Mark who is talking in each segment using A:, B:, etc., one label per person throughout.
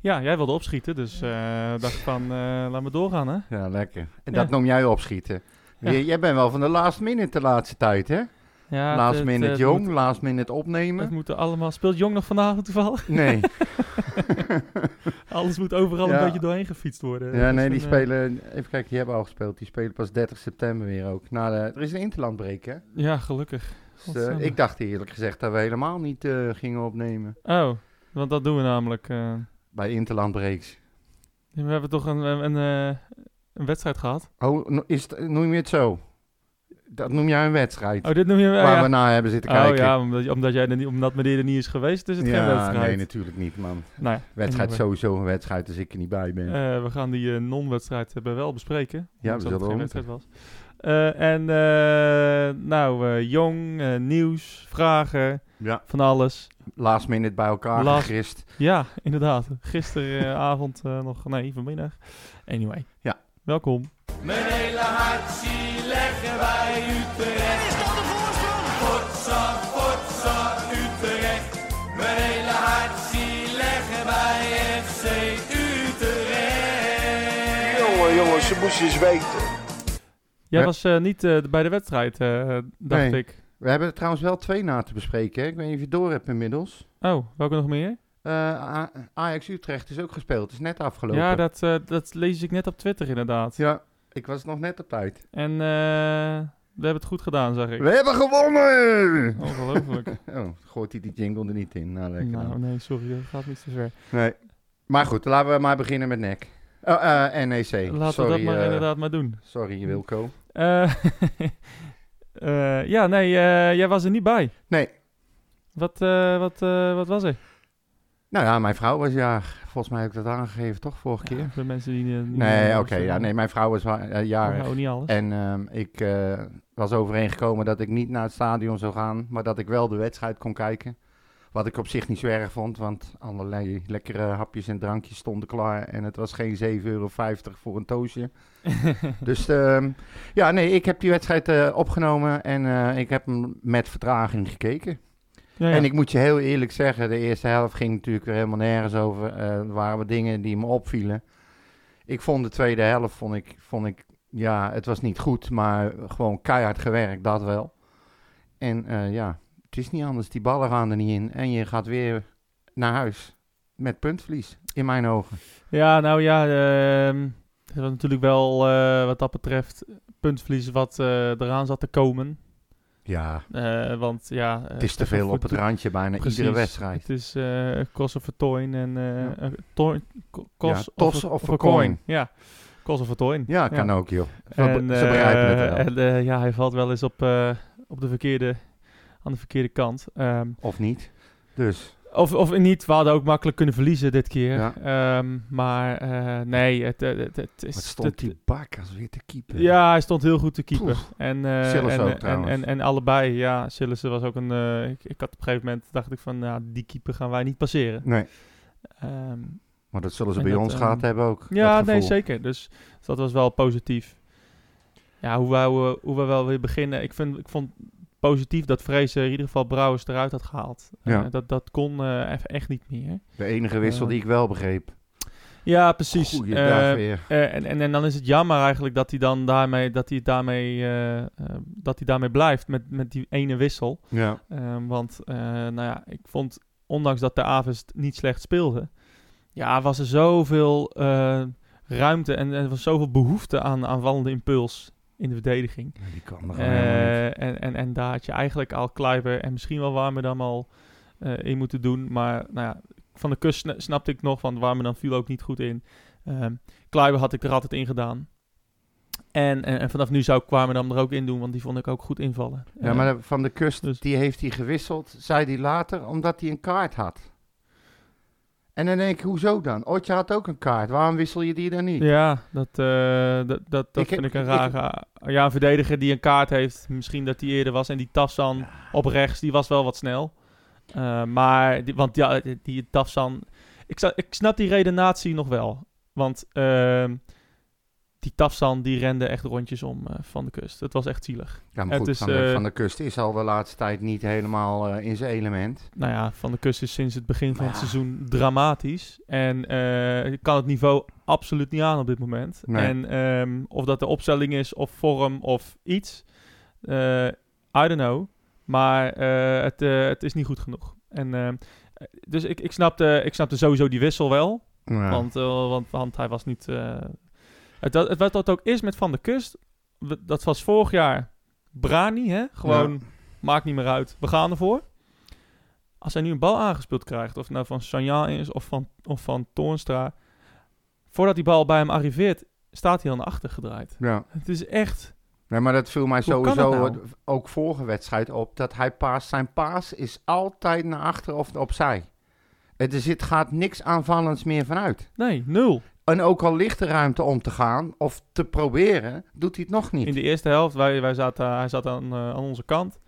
A: Ja, jij wilde opschieten, dus eh, dacht van, eh, laat me doorgaan, hè?
B: Ja, lekker. En
A: Ja.
B: dat noem jij opschieten.
A: Ja.
B: J- Jij bent wel van de last minute de laatste tijd, hè?
A: Ja,
B: Last minute jong,
A: Het,
B: last minute
A: moet- het
B: opnemen.
A: moeten allemaal... Speelt Jong nog vanavond toevallig?
B: Nee,
A: Alles moet overal
B: Ja.
A: een beetje doorheen gefietst worden.
B: ja,
A: Dat is
B: nee
A: een,
B: die
A: eh,
B: spelen, even kijken, die hebben al gespeeld. Die spelen pas 30 september weer ook. Na de, er is een interlandbreek, hè?
A: Ja, gelukkig.
B: Dus, eh,
A: Godsamme.
B: ik dacht eerlijk gezegd dat we helemaal niet eh, gingen opnemen
A: Oh, want dat doen we namelijk. eh.
B: bij interlandbreaks.
A: we hebben toch een, een, eh, een wedstrijd gehad?
B: Oh, no- is het, noem je het zo? Dat noem jij een wedstrijd
A: Oh, dit noem je... wel.
B: waar
A: ja.
B: we naar hebben zitten
A: Oh
B: kijken.
A: ja, omdat, omdat, jij er niet, omdat meneer er niet is geweest, is het geen
B: Ja,
A: wedstrijd.
B: nee, natuurlijk niet, man.
A: Nou ja,
B: Wedstrijd
A: anyway.
B: sowieso een wedstrijd als ik er niet bij ben.
A: Eh, we gaan die eh, non-wedstrijd hebben wel bespreken.
B: we
A: ondanks dat
B: zullen
A: het
B: wel
A: geen wedstrijd was. Eh, en eh, nou, eh, jong, eh, nieuws, vragen,
B: ja.
A: van alles.
B: Last minute bij elkaar
A: Last-
B: gegrist.
A: Ja, inderdaad. Gisteravond eh, nog, nee, vanmiddag. Anyway.
B: Ja.
A: Welkom.
C: Mijn hele hart zie leggen wij Utrecht. Is dat de voorsprong? Potsa, potsa, Utrecht. Mijn hele hart zie leggen wij FC Utrecht.
D: Jongen, jongen, ze moesten eens weten.
A: Jij
B: Ja.
A: was eh, niet eh, bij de wedstrijd, eh, dacht
B: Nee.
A: ik.
B: We hebben er trouwens wel twee na te bespreken. Hè? Ik weet niet of je het door hebt inmiddels.
A: Oh, welke nog meer?
B: Eh, A- Ajax Utrecht is ook gespeeld. is net afgelopen.
A: Ja, dat, eh, dat lees ik net op Twitter inderdaad.
B: Ja, ik was nog net op tijd.
A: En eh, we hebben het goed gedaan, zeg ik.
B: We hebben gewonnen!
A: Ongelooflijk.
B: Oh, gooit hij die jingle er niet in. Nou, lekker
A: nou,
B: dan.
A: nee, sorry, dat gaat niet te ver.
B: Nee. Maar goed, laten we maar beginnen met NEC. Oh, eh, NEC.
A: Laten
B: sorry,
A: we dat maar
B: eh,
A: inderdaad maar doen.
B: Sorry, Wilco.
A: Eh, eh, ja, nee, eh, jij was er niet bij.
B: Nee.
A: Wat, eh, wat, eh, wat was er?
B: Nou ja, mijn vrouw was ja, volgens mij heb ik dat aangegeven, toch, vorige keer?
A: Ja, voor mensen die eh, niet
B: Nee, oké,
A: meer-
B: ja, nee, mijn vrouw was wa- eh,
A: We
B: jarig.
A: houden niet alles.
B: En ehm, ik eh, was overeengekomen dat ik niet naar het stadion zou gaan, maar dat ik wel de wedstrijd kon kijken. Wat ik op zich niet zo erg vond, want allerlei lekkere hapjes en drankjes stonden klaar. En het was geen 7,50 euro voor een toosje. dus ehm, ja, nee, ik heb die wedstrijd eh, opgenomen en eh, ik heb hem met vertraging gekeken.
A: Ja, ja.
B: En ik moet je heel eerlijk zeggen, de eerste helft ging natuurlijk weer helemaal nergens over. Eh, Er waren wat dingen die me opvielen. Ik vond de tweede helft, vond ik, vond ik, ja, het was niet goed, maar gewoon keihard gewerkt, dat wel. En eh, ja, het is niet anders, die ballen gaan er niet in. En je gaat weer naar huis met puntverlies, in mijn ogen.
A: ja, nou ja, ehm het was natuurlijk wel eh, wat dat betreft puntverlies wat eh, eraan zat te komen.
B: Ja,
A: Eh, want ja...
B: het is te veel op het randje bijna iedere wedstrijd.
A: Het is eh cross of a toin en...
B: Ja.
A: eh toin, ko- cross
B: Ja, toss of a coin.
A: Ja, cross of a toin.
B: Ja, kan ook joh. Ze,
A: En,
B: ze begrijpen het
A: eh,
B: wel.
A: en, eh, ja, hij valt wel eens op, eh, op de verkeerde, aan de verkeerde kant. Ehm,
B: Of niet. Dus,
A: of, of niet, we hadden ook makkelijk kunnen verliezen dit keer.
B: Ja.
A: Ehm, maar eh, nee, het, het, het, het is...
B: wat stond
A: het-
B: die bak als weer te keeper.
A: ja, hij stond heel goed te keeper.
B: Poef.
A: En, eh, en,
B: Sillissen ook
A: en-
B: trouwens.
A: En, en, allebei, ja. Sillissen was ook een... eh, ik, ik had op een gegeven moment, dacht ik van, nou, die keeper gaan wij niet passeren.
B: Nee.
A: Ehm,
B: Maar dat zullen ze
A: En
B: bij
A: dat,
B: ons
A: ehm,
B: gehad hebben ook.
A: ja,
B: dat
A: nee,
B: gevoel.
A: zeker. Dus dat was wel positief. Ja, hoe we, hoe we wel weer beginnen. Ik, vind, ik vond positief dat Vreese in ieder geval Brouwers eruit had gehaald.
B: Ja.
A: Eh, dat, dat kon eh, even echt niet meer.
B: De enige wissel
A: Eh,
B: die ik wel begreep.
A: Ja, precies.
B: Goeiedag
A: Eh,
B: weer.
A: eh, en, en, en dan is het jammer eigenlijk dat hij dan daarmee, dat hij daarmee, eh, eh, dat hij daarmee blijft met, met die ene wissel.
B: Ja.
A: Ehm, want, eh, nou ja, ik vond, ondanks dat de Aves t- niet slecht speelde, ja, was er zoveel eh, ruimte en, en er was zoveel behoefte aan aanvallende impuls in de verdediging.
B: Die kan er
A: Eh,
B: gewoon helemaal niet.
A: en, en, en daar had je eigenlijk al Kluiber en misschien wel Warmerdam al eh, in moeten doen. Maar nou ja, van de kust sna- snapte ik nog, want Warmerdam viel ook niet goed in. Ehm Kluiber had ik er altijd in gedaan. En, en, en vanaf nu zou ik Warmerdam er ook in doen, want die vond ik ook goed invallen.
B: Ja, maar de- van de kust,
A: eh, dus-
B: die heeft hij gewisseld, zei hij later, omdat hij een kaart had. En dan denk ik, hoezo dan? Otje had ook een kaart, waarom wissel je die dan niet?
A: Ja, dat, eh, dat, dat, dat
B: Ik heb-
A: vind ik
B: ik-
A: een rare... ja, een verdediger die een kaart heeft, misschien dat die eerder was. En die Tafsan op rechts, die was wel wat snel. Eh, maar, die, want ja, die, die Tafsan... Ik, sta- ik snap die redenatie nog wel. Want ehm, die Tafsan die rende echt rondjes om eh, van de kust. Het was echt zielig.
B: Ja,
A: Het
B: maar goed,
A: is,
B: van, de,
A: eh,
B: van de kust is al de laatste tijd niet helemaal eh, in zijn element.
A: Nou ja, van de kust is sinds het begin van
B: Maar
A: het
B: ja.
A: seizoen dramatisch. En eh, kan het niveau absoluut niet aan op dit moment.
B: Nee.
A: En ehm, of dat de opstelling is of vorm of iets, eh, I don't know. Maar eh, het, eh, het is niet goed genoeg. En, ehm, dus ik, ik, snapte, ik snapte sowieso die wissel wel.
B: Ja.
A: Want, eh, want, want hij was niet. eh, het, dat- het, wat dat ook is met Van der Kust. we- Dat was vorig jaar Brani, hè? Gewoon,
B: Ja.
A: maakt niet meer uit. We gaan ervoor. Als hij nu een bal aangespeeld krijgt, of het nou van Sanjaan is of van, of van Toornstra. Voordat die bal bij hem arriveert, staat hij al naar achter gedraaid.
B: Ja.
A: Het is echt.
B: Nee, maar dat viel mij
A: Hoe kan
B: sowieso
A: dat nou?
B: eh, ook vorige wedstrijd op. Dat hij paast. Zijn paas is altijd naar achter of opzij. Het is, het gaat niks aanvallends meer vanuit.
A: Nee, nul.
B: En ook al ligt de ruimte om te gaan of te proberen, doet hij het nog niet.
A: In de eerste helft, wij, wij zaten, hij zat aan, eh, aan onze kant.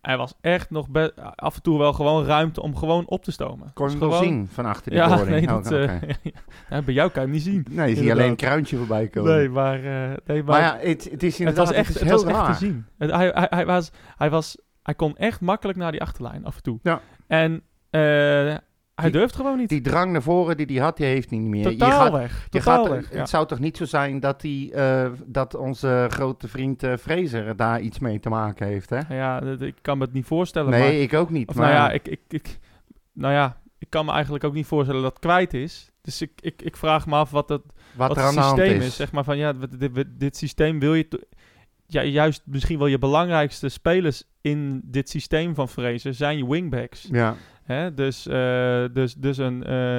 A: Hij was echt nog be- af en toe wel gewoon ruimte om gewoon op te stomen.
B: Kon je
A: Dus
B: hem wel
A: gewoon-
B: zien van achter die
A: Ja,
B: boring?
A: nee,
B: Oh,
A: dat, eh,
B: oké.
A: ja, bij jou kan je hem niet zien.
B: Nee, je ziet
A: inderdaad.
B: alleen een kruintje voorbij komen.
A: Nee, maar, eh, nee, maar,
B: maar, ja, het, het
A: het
B: is inderdaad
A: was echt,
B: het
A: het
B: is heel
A: was echt
B: raar.
A: te zien. Het- hij, hij, hij, was, hij, was, hij kon echt makkelijk naar die achterlijn af en toe.
B: Ja.
A: En eh, hij
B: Die-
A: durft gewoon niet.
B: Die drang naar voren die hij had, die heeft hij niet meer. Je
A: totaal
B: gaat-
A: weg.
B: Je
A: Totaal
B: gaat,
A: weg.
B: Het zou toch niet zo zijn dat, die, eh, dat onze grote vriend eh Fraser daar iets mee te maken heeft, hè?
A: Ja, ja, dat- ik kan me het niet voorstellen.
B: Nee,
A: maar,
B: ik ook niet.
A: of
B: maar
A: nou ja, ik, ik, ik, nou ja, ik kan me eigenlijk ook niet voorstellen dat het kwijt is. Dus ik, ik, ik vraag me af wat, dat,
B: wat,
A: wat
B: er
A: het
B: aan de hand
A: systeem
B: is.
A: is. Zeg maar van ja, wat- dit, dit- dit systeem wil je. to- Ja, juist misschien wel je belangrijkste spelers in dit systeem van Fraser zijn je wingbacks.
B: Ja,
A: Hè? Dus, eh, dus, dus een, eh,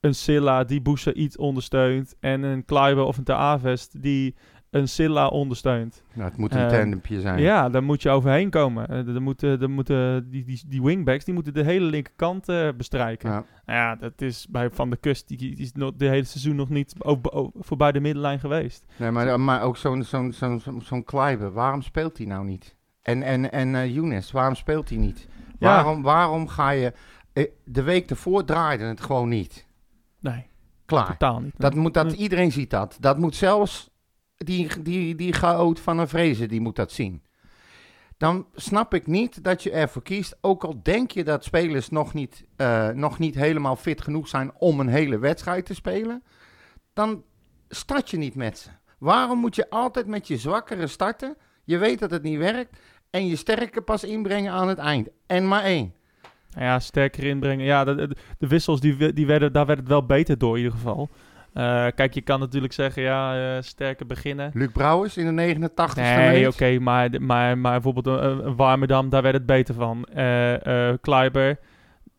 A: een Silla die Boesa iets ondersteunt. En een Kluiber of een Te Avest die een Silla ondersteunt.
B: nou, het moet een
A: Eh,
B: tandempje zijn.
A: Ja, daar moet je overheen komen. Eh, dan moeten, dan moeten die, die, die wingbacks die moeten de hele linkerkant eh, bestrijken.
B: Ja.
A: Nou ja, dat is bij Van der Kust. Die, die is nog, de hele seizoen nog niet op, op- voorbij de middenlijn geweest.
B: Nee, maar, maar ook zo'n zo'n zo'n zo'n zo'n Kleiber, waarom speelt hij nou niet? En, en, en eh, Younes, waarom speelt hij niet? Waarom, waarom ga je... eh, de week ervoor draaide het gewoon niet.
A: Nee,
B: Klaar.
A: totaal niet.
B: Dat moet, dat, iedereen ziet dat. Dat moet zelfs die, die, die chaot van een vrezen, die moet dat zien. Dan snap ik niet dat je ervoor kiest, ook al denk je dat spelers nog niet, eh, nog niet helemaal fit genoeg zijn om een hele wedstrijd te spelen, dan start je niet met ze. Waarom moet je altijd met je zwakkere starten? Je weet dat het niet werkt en je sterke pas inbrengen aan het eind. En maar één.
A: Nou ja, sterker inbrengen. Ja, de, de, de wissels, die, we- die werden, daar werd het wel beter door in ieder geval. Eh, kijk, je kan natuurlijk zeggen, ja, eh, sterker beginnen.
B: Luc Brouwers in de 89 e
A: Nee, oké, maar, de- maar, maar bijvoorbeeld een, een- een Warmerdam, daar werd het beter van. Eh eh Kleiber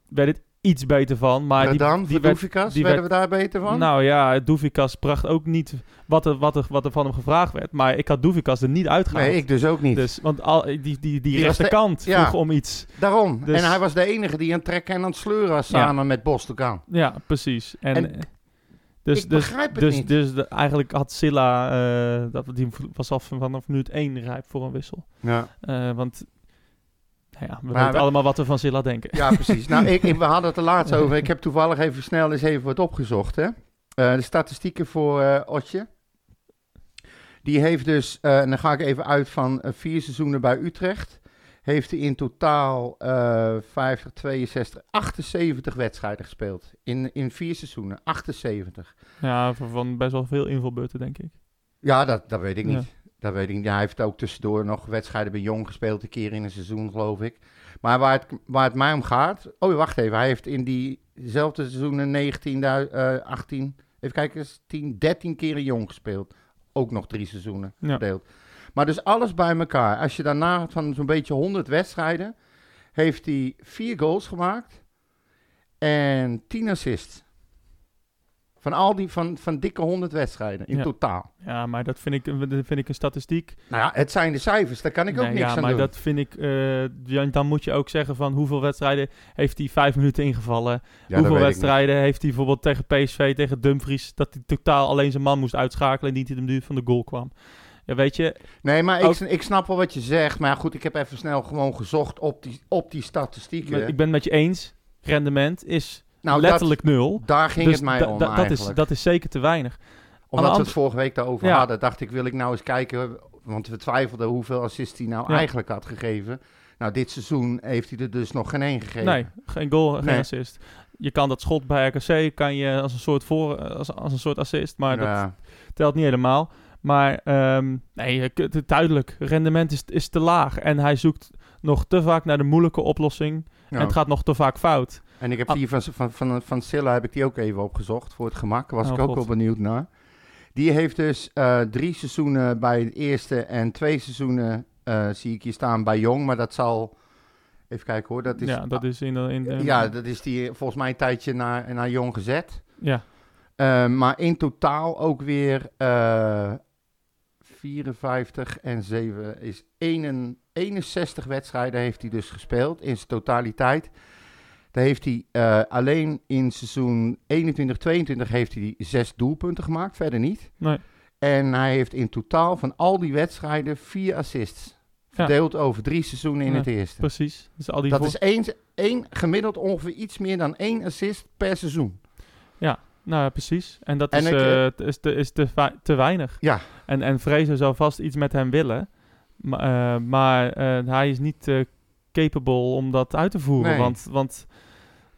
A: werd het iets beter van. Maar die,
B: dan,
A: die werd,
B: Verdoevikas,
A: die
B: werden we daar beter van?
A: nou ja, Doevikas bracht ook niet wat er, wat, er, wat er van hem gevraagd werd. Maar ik had Doevikas er niet uitgehaald.
B: nee, ik dus ook niet.
A: Dus, want al, die, die, die,
B: was de-
A: rechterkant
B: ja.
A: vroeg om iets.
B: Daarom.
A: Dus-
B: En hij was de enige die aan het trekken en aan het sleuren was
A: Ja.
B: samen met Bostokan.
A: Ja, precies. En,
B: En
A: eh, dus,
B: ik
A: dus,
B: begrijp het
A: dus,
B: niet.
A: dus de- eigenlijk had Silla, eh, dat, die was af vanaf minuut 1 rijp voor een wissel.
B: Ja,
A: Eh, want nou ja, we
B: Maar
A: weten
B: we-
A: allemaal wat we van Silla denken.
B: ja precies. nou, ik, ik- we hadden het er laatst over. Ik heb toevallig even snel eens even wat opgezocht. Hè. Eh, de statistieken voor eh, Otje. Die heeft dus, eh, en dan ga ik even uit van eh, vier seizoenen bij Utrecht. Heeft hij in totaal eh 50, 62, 78 wedstrijden gespeeld. In, in vier seizoenen, 78.
A: Ja, van, van best wel veel invalbeurten, denk ik.
B: Ja, dat, dat weet ik
A: Ja.
B: niet. Dat weet ik niet. Ja, hij heeft ook tussendoor nog wedstrijden bij Jong gespeeld, een keer in een seizoen, geloof ik. Maar waar het, waar het mij om gaat... Oh, wacht even. Hij heeft in diezelfde seizoenen 19, du- eh 18... Even kijken, eens, 10, 13 keer in Jong gespeeld. Ook nog drie seizoenen
A: Ja.
B: verdeeld. Maar dus alles bij elkaar. Als je daarna van zo'n beetje 100 wedstrijden... heeft hij vier goals gemaakt en 10 assists. Van al die, van, van dikke 100 wedstrijden in
A: Ja.
B: totaal.
A: Ja, maar dat vind ik, een- dat vind ik een statistiek.
B: Nou ja, het zijn de cijfers, daar kan ik ook
A: Nee,
B: niks
A: ja,
B: aan
A: maar
B: doen.
A: dat vind ik... eh, ja, dan moet je ook zeggen van hoeveel wedstrijden heeft hij vijf minuten ingevallen.
B: Ja, dat
A: hoeveel
B: weet ik niet.
A: wedstrijden heeft hij bijvoorbeeld tegen PSV, tegen Dumfries... dat hij totaal alleen zijn man moest uitschakelen en niet in de duur van de goal kwam. Ja, weet je,
B: Nee, maar ik,
A: Ook-
B: ik snap wel wat je zegt. Maar goed, ik heb even snel gewoon gezocht op die, op die statistieken.
A: ik ben het met je eens. Rendement is
B: eh, nou,
A: letterlijk nul.
B: dat, daar ging
A: Dus
B: het mij
A: da-
B: om
A: da- dat, is,
B: eigenlijk.
A: dat is zeker te weinig.
B: Omdat we
A: ander-
B: het vorige week daarover
A: Ja.
B: hadden, dacht ik, wil ik nou eens kijken. Want we twijfelden hoeveel assists hij nou
A: Ja.
B: eigenlijk had gegeven. Nou, dit seizoen heeft hij er dus nog geen één gegeven.
A: Nee, geen goal, geen
B: Nee.
A: assist. Je kan dat schot bij RKC kan je als een soort, voor, als, als een soort assist, maar dat
B: Ja.
A: telt niet helemaal. Maar ehm, nee, je kunt het duidelijk, rendement is, is te laag. En hij zoekt nog te vaak naar de moeilijke oplossing.
B: Ja.
A: En het gaat nog te vaak fout.
B: En ik heb
A: Ah.
B: die van, van, van, van Silla heb ik die ook even opgezocht voor het gemak. Was
A: Oh,
B: ik ook
A: God.
B: wel benieuwd naar. Die heeft dus eh, drie seizoenen bij het eerste en twee seizoenen eh, zie ik hier staan bij Jong. Maar dat zal. Even kijken hoor. Dat is, ah,
A: ja, dat is eh, in de... In de-
B: ja, dat is die volgens mij een tijdje naar, naar Jong gezet.
A: ja.
B: Eh, maar in totaal ook weer eh, 54 en 7 is 1 61 wedstrijden heeft hij dus gespeeld in zijn totaliteit. Daar heeft hij eh, alleen in seizoen 21-22 heeft hij die zes doelpunten gemaakt, verder niet.
A: Nee.
B: En hij heeft in totaal van al die wedstrijden vier assists. Verdeeld over drie seizoenen in
A: Ja,
B: het eerste.
A: Precies. Dus al die
B: Dat
A: voor-
B: is één, één, gemiddeld ongeveer iets meer dan één assist per seizoen.
A: Nou, ja, precies. En dat
B: En
A: is,
B: ik,
A: eh, t- is, te, is te, va- te weinig.
B: Ja.
A: En, en Vrezen zou vast iets met hem willen. Ma- eh, maar eh, hij is niet eh, capable om dat uit te voeren.
B: Nee.
A: Want, want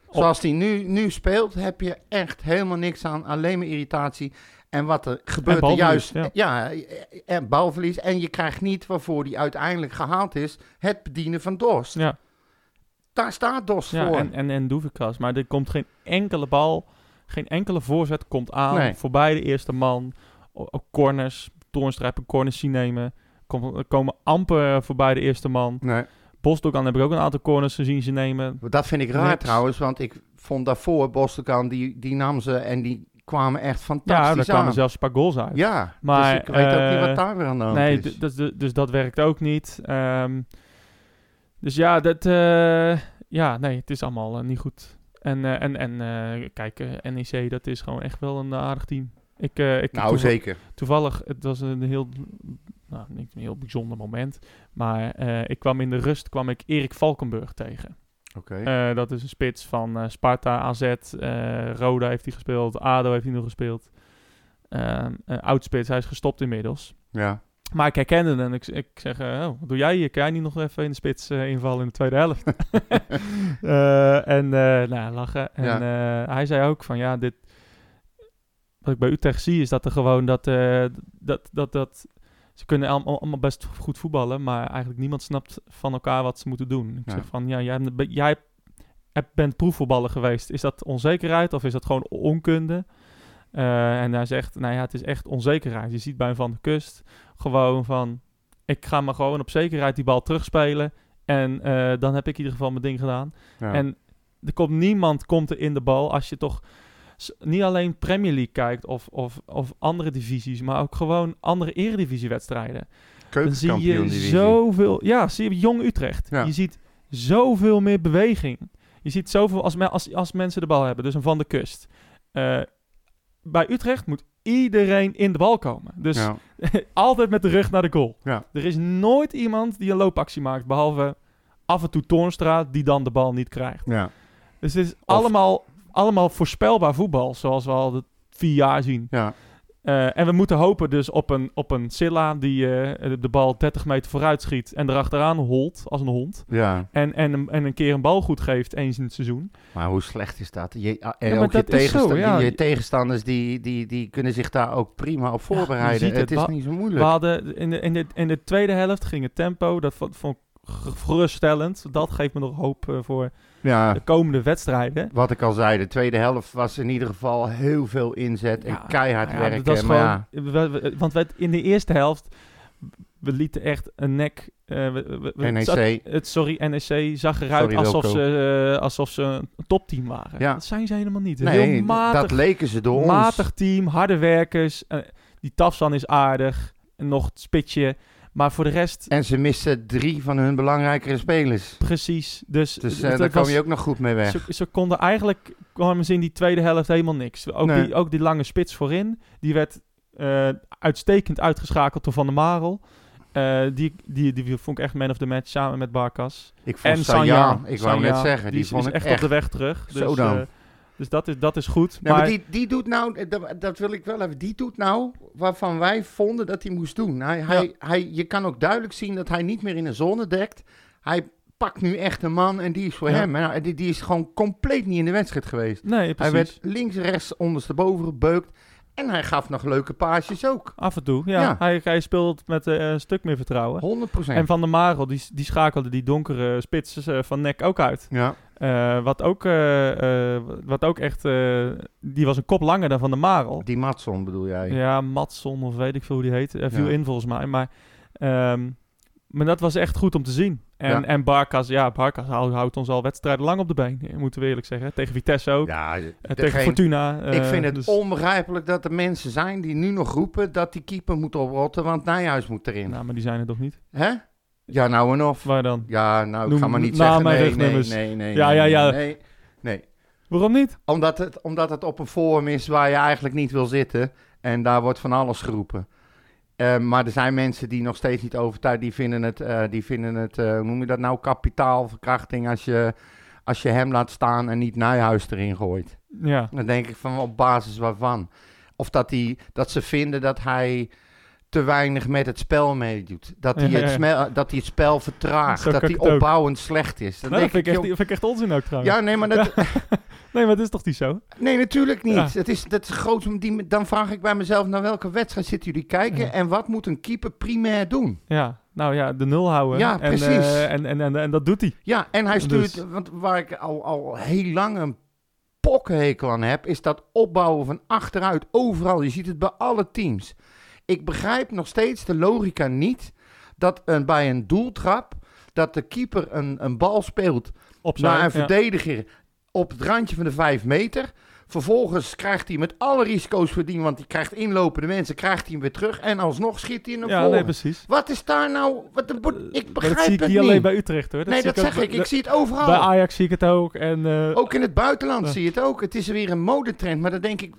A: Op-
B: Zoals hij nu, nu speelt, heb je echt helemaal niks aan. Alleen maar irritatie. En wat er gebeurt er
A: balverlies,
B: juist.
A: ja.
B: Ja. en balverlies. En je krijgt niet waarvoor die uiteindelijk gehaald is. Het bedienen van Dorst.
A: ja,
B: Daar staat Dorst
A: ja
B: voor.
A: en, en, en Doevekas. Maar er komt geen enkele bal, geen enkele voorzet komt aan.
B: Nee.
A: Voorbij de eerste man. O- ook corners, toornstrijpen, corners zien nemen. Kom, komen amper voorbij de eerste man.
B: nee,
A: Bosdokan heb ik ook een aantal corners gezien ze nemen.
B: dat vind ik raar
A: Niks.
B: trouwens. Want ik vond daarvoor Bostelkan, die, die nam ze en die kwamen echt
A: Ja, daar
B: fantastisch
A: kwamen
B: aan.
A: zelfs een paar goals uit.
B: Ja,
A: Maar,
B: dus ik weet ook niet
A: eh,
B: wat daar weer aan de hand
A: Nee,
B: is.
A: d- dat- d- dus dat werkt ook niet. Ehm, dus ja, dat, eh, ja, nee, het is allemaal eh, niet goed. En, eh, en, en eh, kijk, eh, NEC, dat is gewoon echt wel een aardig team. Ik, eh, ik,
B: nou,
A: toeva-
B: zeker.
A: Toevallig, het was een heel, nou, niet een heel bijzonder moment. Maar eh, ik kwam in de rust, kwam ik Erik Valkenburg tegen.
B: Oké.
A: Eh, dat is een spits van eh, Sparta, AZ, eh, Roda heeft hij gespeeld, ADO heeft hij nog gespeeld. Ehm een oud spits, hij is gestopt inmiddels.
B: ja.
A: Maar ik herkende hem en ik, ik zeg, eh, oh, wat doe jij hier? Kan jij niet nog even in de spits eh, invallen in de tweede helft? Eh, en eh, nou, lachen. En eh, hij zei ook van, ja, dit... Wat ik bij Utrecht zie is dat er gewoon dat... eh, dat, dat, dat ze kunnen allemaal, allemaal best goed voetballen, maar eigenlijk niemand snapt van elkaar wat ze moeten doen. Ik
B: Ja.
A: zeg van, ja, jij, bent- jij hebt- bent proefvoetballer geweest. Is dat onzekerheid of is dat gewoon onkunde? Eh, en hij zegt, nou ja, het is echt onzekerheid. Je ziet bij Van de Kust gewoon van, ik ga maar gewoon op zekerheid die bal terugspelen. En eh, dan heb ik in ieder geval mijn ding gedaan.
B: ja.
A: En er komt niemand komt er in de bal als je toch s- niet alleen Premier League kijkt of, of, of andere divisies, maar ook gewoon andere eredivisiewedstrijden. Dan zie je
B: Keukenkampioen-divisie.
A: zoveel. Ja, zie je Jong Utrecht.
B: Ja.
A: Je ziet zoveel meer beweging. Je ziet zoveel als, me- als, als mensen de bal hebben, dus een van de kust. Eh, bij Utrecht moet iedereen in de bal komen. Dus
B: Ja.
A: altijd met de rug naar de goal.
B: Ja.
A: Er is nooit iemand die een loopactie maakt, behalve af en toe Toornstra, die dan de bal niet krijgt.
B: ja.
A: Dus het is allemaal, allemaal voorspelbaar voetbal, zoals we al de vier jaar zien.
B: Ja.
A: Eh, en we moeten hopen dus op een, op een Silla die eh, de bal 30 meter vooruit schiet en erachteraan holt als een hond.
B: Ja.
A: En, en, hem- en een keer een bal goed geeft eens in het seizoen.
B: Maar hoe slecht is dat? Je, en
A: Ja, maar
B: ook je,
A: dat is
B: tegensta-
A: zo, ja.
B: je tegenstanders die, die, die kunnen zich daar ook prima op
A: je
B: voorbereiden.
A: ziet
B: het,
A: het.
B: is
A: Wa-
B: niet zo
A: We
B: moeilijk.
A: hadden in de, in, de, in de tweede helft ging het tempo, dat vond, vond ik ge- geruststellend. Dat geeft me nog hoop eh, voor
B: ja,
A: de komende wedstrijden.
B: wat ik al zei, de tweede helft was in ieder geval heel veel inzet en
A: Ja,
B: keihard
A: Nou ja,
B: werken.
A: Dat is
B: maar
A: gewoon,
B: ja,
A: we- we- want we, in de eerste helft, we lieten echt een nek... eh, we- we- we-
B: NEC.
A: zat- het, sorry, NEC zag eruit
B: Sorry,
A: alsof
B: Wilco.
A: ze, eh, alsof ze een topteam waren.
B: Ja.
A: Dat zijn ze helemaal niet.
B: nee,
A: Heel
B: d- dat
A: matig,
B: leken ze door
A: matig
B: ons.
A: team, harde werkers. eh, die Tafsan is aardig. En nog het spitje. Maar voor de rest,
B: En ze misten drie van hun belangrijkere spelers.
A: precies. Dus,
B: Dus eh,
A: het- het
B: daar
A: was-
B: kwam je ook nog goed mee weg.
A: ze, ze konden eigenlijk, kwamen ze in die tweede helft helemaal niks. Ook,
B: Nee.
A: die, ook die lange spits voorin, die werd eh, uitstekend uitgeschakeld door Van der Marel. Eh, die, die, die vond ik echt man of the match samen met Barkas.
B: Ik vond
A: En
B: Sanjan,
A: Sanja.
B: ik wou net zeggen, die,
A: is-
B: vond
A: is
B: ik
A: echt,
B: echt...
A: op de weg terug. Dus,
B: Zo dan.
A: eh, Dus dat is, dat is goed.
B: Nee, maar,
A: maar
B: die, die doet nou, dat, dat wil ik wel even, die doet nou waarvan wij vonden dat hij moest doen. Hij, hij, hij, je kan ook duidelijk zien dat hij niet meer in de zone dekt. Hij pakt nu echt een man en die is voor
A: Ja.
B: hem. En nou, die, die is gewoon compleet niet in de wedstrijd geweest.
A: nee, precies.
B: Hij werd links, rechts, ondersteboven gebeukt. En hij gaf nog leuke paasjes ook.
A: Af en toe, ja.
B: Ja.
A: Hij, hij speelt met eh, een stuk meer vertrouwen.
B: 100
A: En Van der Marel, die, die schakelde die donkere spits eh, van Nek ook uit.
B: Ja.
A: Eh, wat, ook, eh, eh, wat ook echt... eh, die was een kop langer dan Van der Marel.
B: Die Matson bedoel jij?
A: Oh. Ja, Matson of weet ik veel hoe die heet. eh, viel
B: Ja.
A: in volgens mij. Maar, ehm, maar dat was echt goed om te zien. En,
B: Ja.
A: en Barkas, ja, Barkas hou- houdt ons al wedstrijden lang op de been. eh, Moeten we eerlijk zeggen. Tegen Vitesse ook.
B: Ja,
A: eh, tegen
B: degene-
A: Fortuna. eh,
B: ik vind het
A: dus-
B: onbegrijpelijk dat er mensen zijn die nu nog roepen dat die keeper moet oprotten, want Nijhuis moet erin.
A: Nou, maar die zijn er toch niet?
B: Hè? Ja, nou en of.
A: Waar dan?
B: Ja, nou, ik
A: Noem
B: ga maar niet
A: namen
B: zeggen.
A: en
B: Nee, nee,
A: rugnummers.
B: nee, nee.
A: Ja,
B: nee,
A: ja, ja.
B: Nee, nee.
A: Waarom niet?
B: Omdat, het, omdat het op een forum is waar je eigenlijk niet wil zitten. En daar wordt van alles geroepen. Eh, maar er zijn mensen die nog steeds niet overtuigd. Die vinden het, eh, die vinden het eh, hoe noem je dat nou, kapitaalverkrachting als je, als je hem laat staan en niet Nijhuis erin gooit.
A: Ja. Nou,
B: Dan denk ik van op basis waarvan. Of dat, die, dat ze vinden dat hij te weinig met het spel meedoet. Dat hij,
A: Ja, ja,
B: het,
A: ja.
B: smel- dat hij het spel vertraagt.
A: Zo
B: dat
A: kan
B: hij
A: ik het ook.
B: opbouwend slecht is. Dan
A: Nou, dat
B: denk
A: vind ik, echt,
B: joh,
A: vind ik echt onzin ook trouwens.
B: ja, nee, maar dat,
A: Nee, maar het is toch niet zo?
B: nee, natuurlijk niet.
A: Ja.
B: Het is, dat is groot, om die, dan vraag ik bij mezelf, naar welke wedstrijd zitten jullie kijken?
A: Ja.
B: En wat moet een keeper primair doen?
A: Ja, nou ja, de nul houden.
B: Ja,
A: en,
B: precies.
A: eh, en, en, en, en dat doet hij.
B: Ja, en hij stuurt,
A: Dus-
B: want waar ik al, al heel lang een pokkenhekel aan heb, is dat opbouwen van achteruit overal. Je ziet het bij alle teams. Ik begrijp nog steeds de logica niet dat een, bij een doeltrap, dat de keeper een, een bal speelt
A: Op
B: naar een
A: ja.
B: verdediger op het randje van de 5 meter. Vervolgens krijgt hij met alle risico's verdiend, want hij krijgt inlopende mensen, krijgt hij hem weer terug en alsnog schiet hij hem
A: Ja,
B: naar voren.
A: nee, precies. Eh,
B: Wat is daar nou? Wat, de bo- ik
A: Maar
B: begrijp
A: dat zie ik
B: het
A: niet
B: niet.
A: alleen bij Utrecht hoor.
B: nee,
A: zie
B: dat
A: ook
B: zeg
A: bij-
B: ik. Ik
A: dat-
B: zie het Oh, overal.
A: Bij Ajax zie ik het ook. En, eh,
B: Ook in het buitenland
A: Ja.
B: zie je het ook. Het is weer een modetrend. Maar dan denk ik,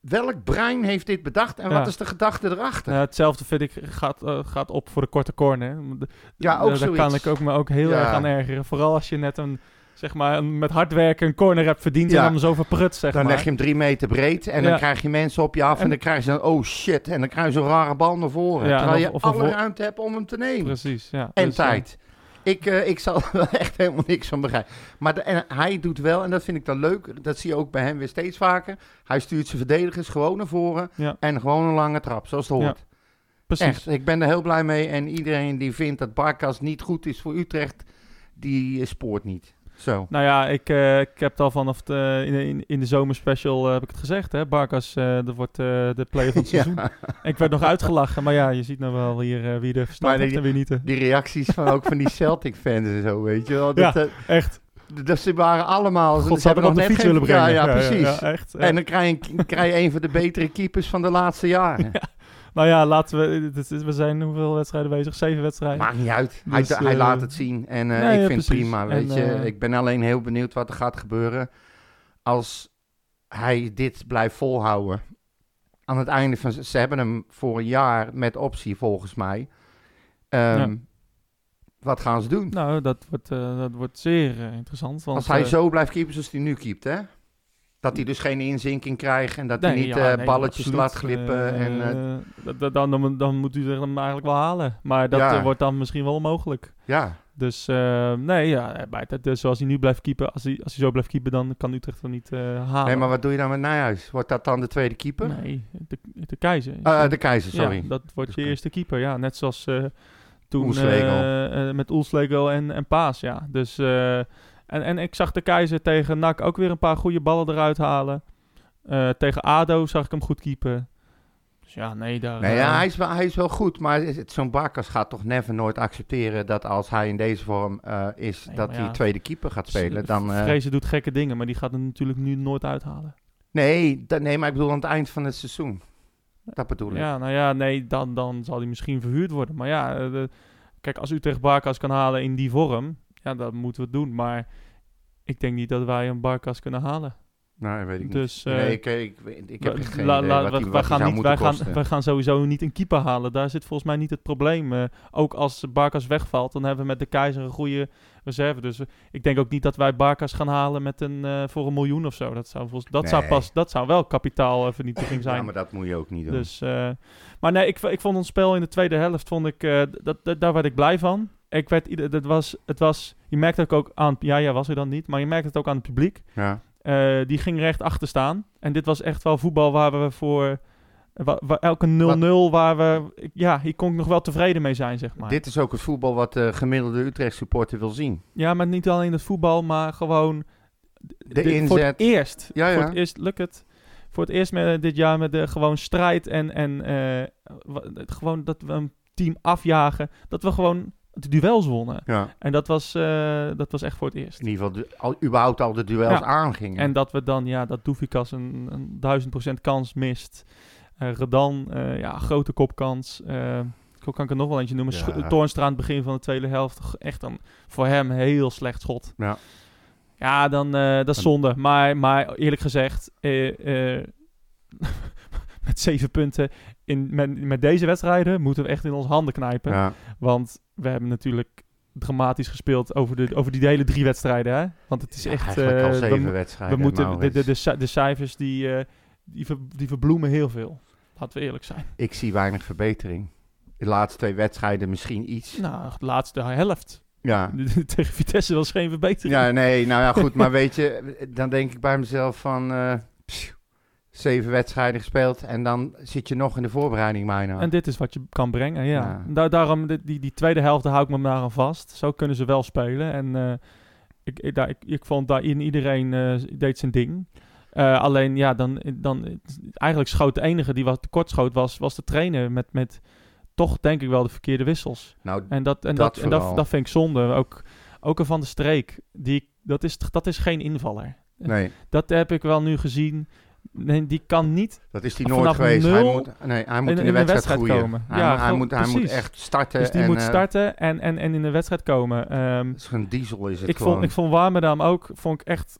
B: welk brein heeft dit bedacht en
A: Ja.
B: wat is de gedachte erachter?
A: nou, hetzelfde vind ik gaat, eh, gaat op voor de korte corner. hè. De-
B: Ja, ook
A: daar
B: zoiets.
A: kan ik ook me ook heel
B: Ja.
A: erg aan ergeren. Vooral als je net een, zeg maar, een, met hard werken een corner hebt verdiend en
B: Ja.
A: dan zo verprut, zeg
B: dan
A: maar.
B: leg je hem drie meter breed en
A: Ja.
B: dan krijg je mensen op je af. En,
A: En-
B: dan krijgen ze een, oh shit, en dan krijgen ze een rare bal naar voren.
A: Ja,
B: terwijl
A: of-
B: je
A: of een
B: alle
A: vo-
B: ruimte hebt om hem te nemen.
A: Precies, ja.
B: En
A: Dus, eh,
B: tijd. Ik, eh, ik zal er wel echt helemaal niks van begrijpen. Maar de- en hij doet wel, en dat vind ik dan leuk, dat zie je ook bij hem weer steeds vaker. Hij stuurt zijn verdedigers gewoon naar voren
A: Ja.
B: en gewoon een lange trap, zoals het
A: Ja.
B: hoort.
A: precies.
B: Echt, ik ben er heel blij mee. En iedereen die vindt dat Barkas niet goed is voor Utrecht, die eh, spoort niet. Zo.
A: Nou ja, ik, eh, ik heb het al vanaf de, in, in, in de zomerspecial eh, heb ik het gezegd, hè. Barkas, eh, dat wordt eh, de player van het
B: Ja.
A: seizoen. En ik werd nog uitgelachen, maar ja, je ziet nou wel hier eh, wie er verstand
B: Maar
A: heeft
B: die-
A: en wie niet. eh.
B: Die reacties van ook van die Celtic-fans en zo, weet je wel. Dat, eh,
A: Echt,
B: dat, ze waren allemaal...
A: god zou
B: ze hebben
A: hem op
B: nog
A: de
B: net
A: fiets
B: geen-
A: willen brengen.
B: Ja, ja, precies.
A: ja, echt, ja.
B: En dan krijg je, een- krijg je een van de betere keepers van de laatste jaren.
A: Nou ja, laten we. dit is- We zijn hoeveel wedstrijden bezig? Zeven wedstrijden.
B: Maakt niet uit.
A: Dus,
B: hij, hij
A: eh,
B: laat het zien. En eh,
A: ja, ja,
B: ik vind het
A: precies.
B: prima,
A: En,
B: weet je.
A: eh,
B: ik ben alleen heel benieuwd wat er gaat gebeuren als hij dit blijft volhouden. Aan het einde van... Ze hebben hem voor een jaar met optie, volgens mij. Ehm,
A: Ja.
B: Wat gaan ze doen?
A: Nou, dat wordt, eh, dat wordt zeer eh, interessant. Want,
B: als hij
A: eh,
B: zo blijft keepen zoals hij nu keept, hè? Dat hij dus geen inzinking krijgt en dat hij
A: nee,
B: niet
A: ja,
B: eh,
A: nee,
B: balletjes
A: absoluut.
B: laat glippen.
A: Eh,
B: en, eh,
A: dat- dat- dan, dan, dan moet u er hem eigenlijk wel halen. Maar dat
B: Ja.
A: eh, wordt dan misschien wel onmogelijk.
B: ja,
A: Dus eh, nee, ja, eh, maar dat, dus zoals hij nu blijft keepen, als hij, als hij zo blijft keepen, dan kan Utrecht hem niet eh, halen.
B: nee, maar wat doe je dan met Nijhuis? Wordt dat dan de tweede keeper?
A: Nee, de, de keizer.
B: Eh, de keizer, sorry.
A: Ja, dat wordt je
B: Dus-
A: eerste keeper, ja. Net zoals eh, toen
B: Oelslegel.
A: eh, eh, met Oelslegel en, en Paas, ja. Dus, eh, en, en ik zag de keizer tegen NAC ook weer een paar goede ballen eruit halen. Eh, tegen ADO zag ik hem goed keepen. Dus ja, nee, daar...
B: Nee,
A: eh,
B: Nou ja, hij, is wel, hij is wel goed, maar is het- zo'n Barkas gaat toch never nooit accepteren dat als hij in deze vorm eh, is,
A: Nee,
B: dat
A: maar
B: hij
A: ja.
B: tweede keeper gaat spelen. Dan, eh,
A: Vrezen doet gekke dingen, maar die gaat hem natuurlijk nu nooit uithalen.
B: nee, dat, nee, maar ik bedoel aan het eind van het seizoen. Dat bedoel ik. Ja,
A: Ja, nou ja, nee, dan, dan zal hij misschien verhuurd worden. Maar ja, eh, de- kijk, als Utrecht Barkas kan halen in die vorm, ja, dan moeten we het doen. Maar ik denk niet dat wij een Barkas kunnen halen.
B: nou, weet ik
A: Dus...
B: niet.
A: eh,
B: Nee, ik, ik, ik, ik heb
A: We-
B: echt geen
A: la-
B: idee
A: la-
B: wat
A: we-
B: die-
A: we
B: wat die
A: gaan
B: zou
A: niet-
B: moeten
A: wij gaan,
B: kosten.
A: wij gaan sowieso niet een keeper halen. Daar zit volgens mij niet het probleem. eh. ook als Barkas wegvalt, dan hebben we met de Keizer een goede reserve. Dus eh, ik denk ook niet dat wij Barkas gaan halen met een, eh, voor een miljoen of zo. Dat zou, volgens, dat zou,
B: Nee.
A: pas, dat zou wel kapitaalvernietiging zijn.
B: Ja, maar dat moet je ook niet doen.
A: Dus, eh, maar nee, ik, v- ik vond ons spel in de tweede helft, vond ik, eh, dat, dat, daar werd ik blij van. Ik werd, ieder- dat was, het was, je merkte het ook aan, ja, ja, was er dan niet, maar je merkte het ook aan het publiek.
B: ja.
A: Eh, die ging recht achter staan. En dit was echt wel voetbal waar we voor, wa- waar elke 0-0 waar we, ik- ja, hier kon ik nog wel tevreden mee zijn, zeg maar.
B: Dit is ook het voetbal wat de gemiddelde Utrecht supporter wil zien.
A: Ja, maar niet alleen het voetbal, maar gewoon
B: De
A: dit- voor het
B: inzet.
A: eerst.
B: Ja,
A: Voor
B: ja.
A: het eerst lukt het. Voor het eerst met, dit jaar met de gewoon strijd en, en eh, wa- het gewoon dat we een team afjagen. Dat we gewoon de duels wonnen.
B: Ja.
A: En dat was, eh, dat was echt voor het eerst.
B: In ieder geval, de- al, überhaupt al de duels
A: Ja.
B: aangingen.
A: En dat we dan, ja, dat Doefikas een, een duizend procent kans mist. Eh, Redan, eh, ja, grote kopkans. Eh, ik kan ik er nog wel eentje noemen.
B: Ja.
A: Sch- Toornstra aan het begin van de tweede helft. G- Echt een voor hem heel slecht schot.
B: Ja.
A: Ja, dan, eh, dat is zonde. Maar, maar eerlijk gezegd, eh, eh, met zeven punten in, met, met deze wedstrijden moeten we echt in onze handen knijpen.
B: ja.
A: Want we hebben natuurlijk dramatisch gespeeld over, de, over die hele drie wedstrijden. Hè? Want het is
B: Ja,
A: echt...
B: eigenlijk al
A: eh, we
B: zeven
A: mo- we
B: wedstrijden.
A: moeten, de,
B: Maurits.
A: de, de, ci- de cijfers die, eh, die, ver- die verbloemen heel veel. Laten we eerlijk zijn.
B: Ik zie weinig verbetering. De laatste twee wedstrijden misschien iets.
A: Nou, de laatste helft.
B: Ja.
A: Tegen Vitesse was geen verbetering.
B: Ja, nee, nou ja, goed. maar weet je, dan denk ik bij mezelf van... eh, pssst, zeven wedstrijden gespeeld en dan zit je nog in de voorbereiding, mijna.
A: En dit is wat je kan brengen, ja.
B: Ja.
A: Da- daarom, dit- die, die tweede helft, daar hou ik me maar aan vast. Zo kunnen ze wel spelen. En eh, ik, ik, daar, ik, ik vond daarin iedereen eh, deed zijn ding. Eh, alleen, ja, dan, dan... Eigenlijk schoot de enige die wat tekort schoot was, was de trainer met... met toch denk ik wel de verkeerde wissels.
B: Nou,
A: En dat, en dat,
B: Dat
A: en dat,
B: vooral.
A: dat vind ik zonde. Ook, ook een Van de Streek, die, dat, is, dat is geen invaller.
B: nee,
A: Dat heb ik wel nu gezien. Nee, die kan niet
B: dat is die
A: Vanaf
B: nooit geweest. Hij
A: nul
B: moet, nee, hij moet
A: in-
B: in,
A: in
B: de
A: de
B: wedstrijd,
A: wedstrijd
B: groeien.
A: komen.
B: Hij,
A: Ja,
B: moet- hij
A: gewoon-
B: moet, hij moet
A: precies.
B: echt starten.
A: dus die
B: en,
A: moet
B: eh,
A: starten en, en, en in de wedstrijd komen. Ehm,
B: het is een diesel is het
A: ik,
B: gewoon.
A: vond, ik vond Warmerdam ook vond ik echt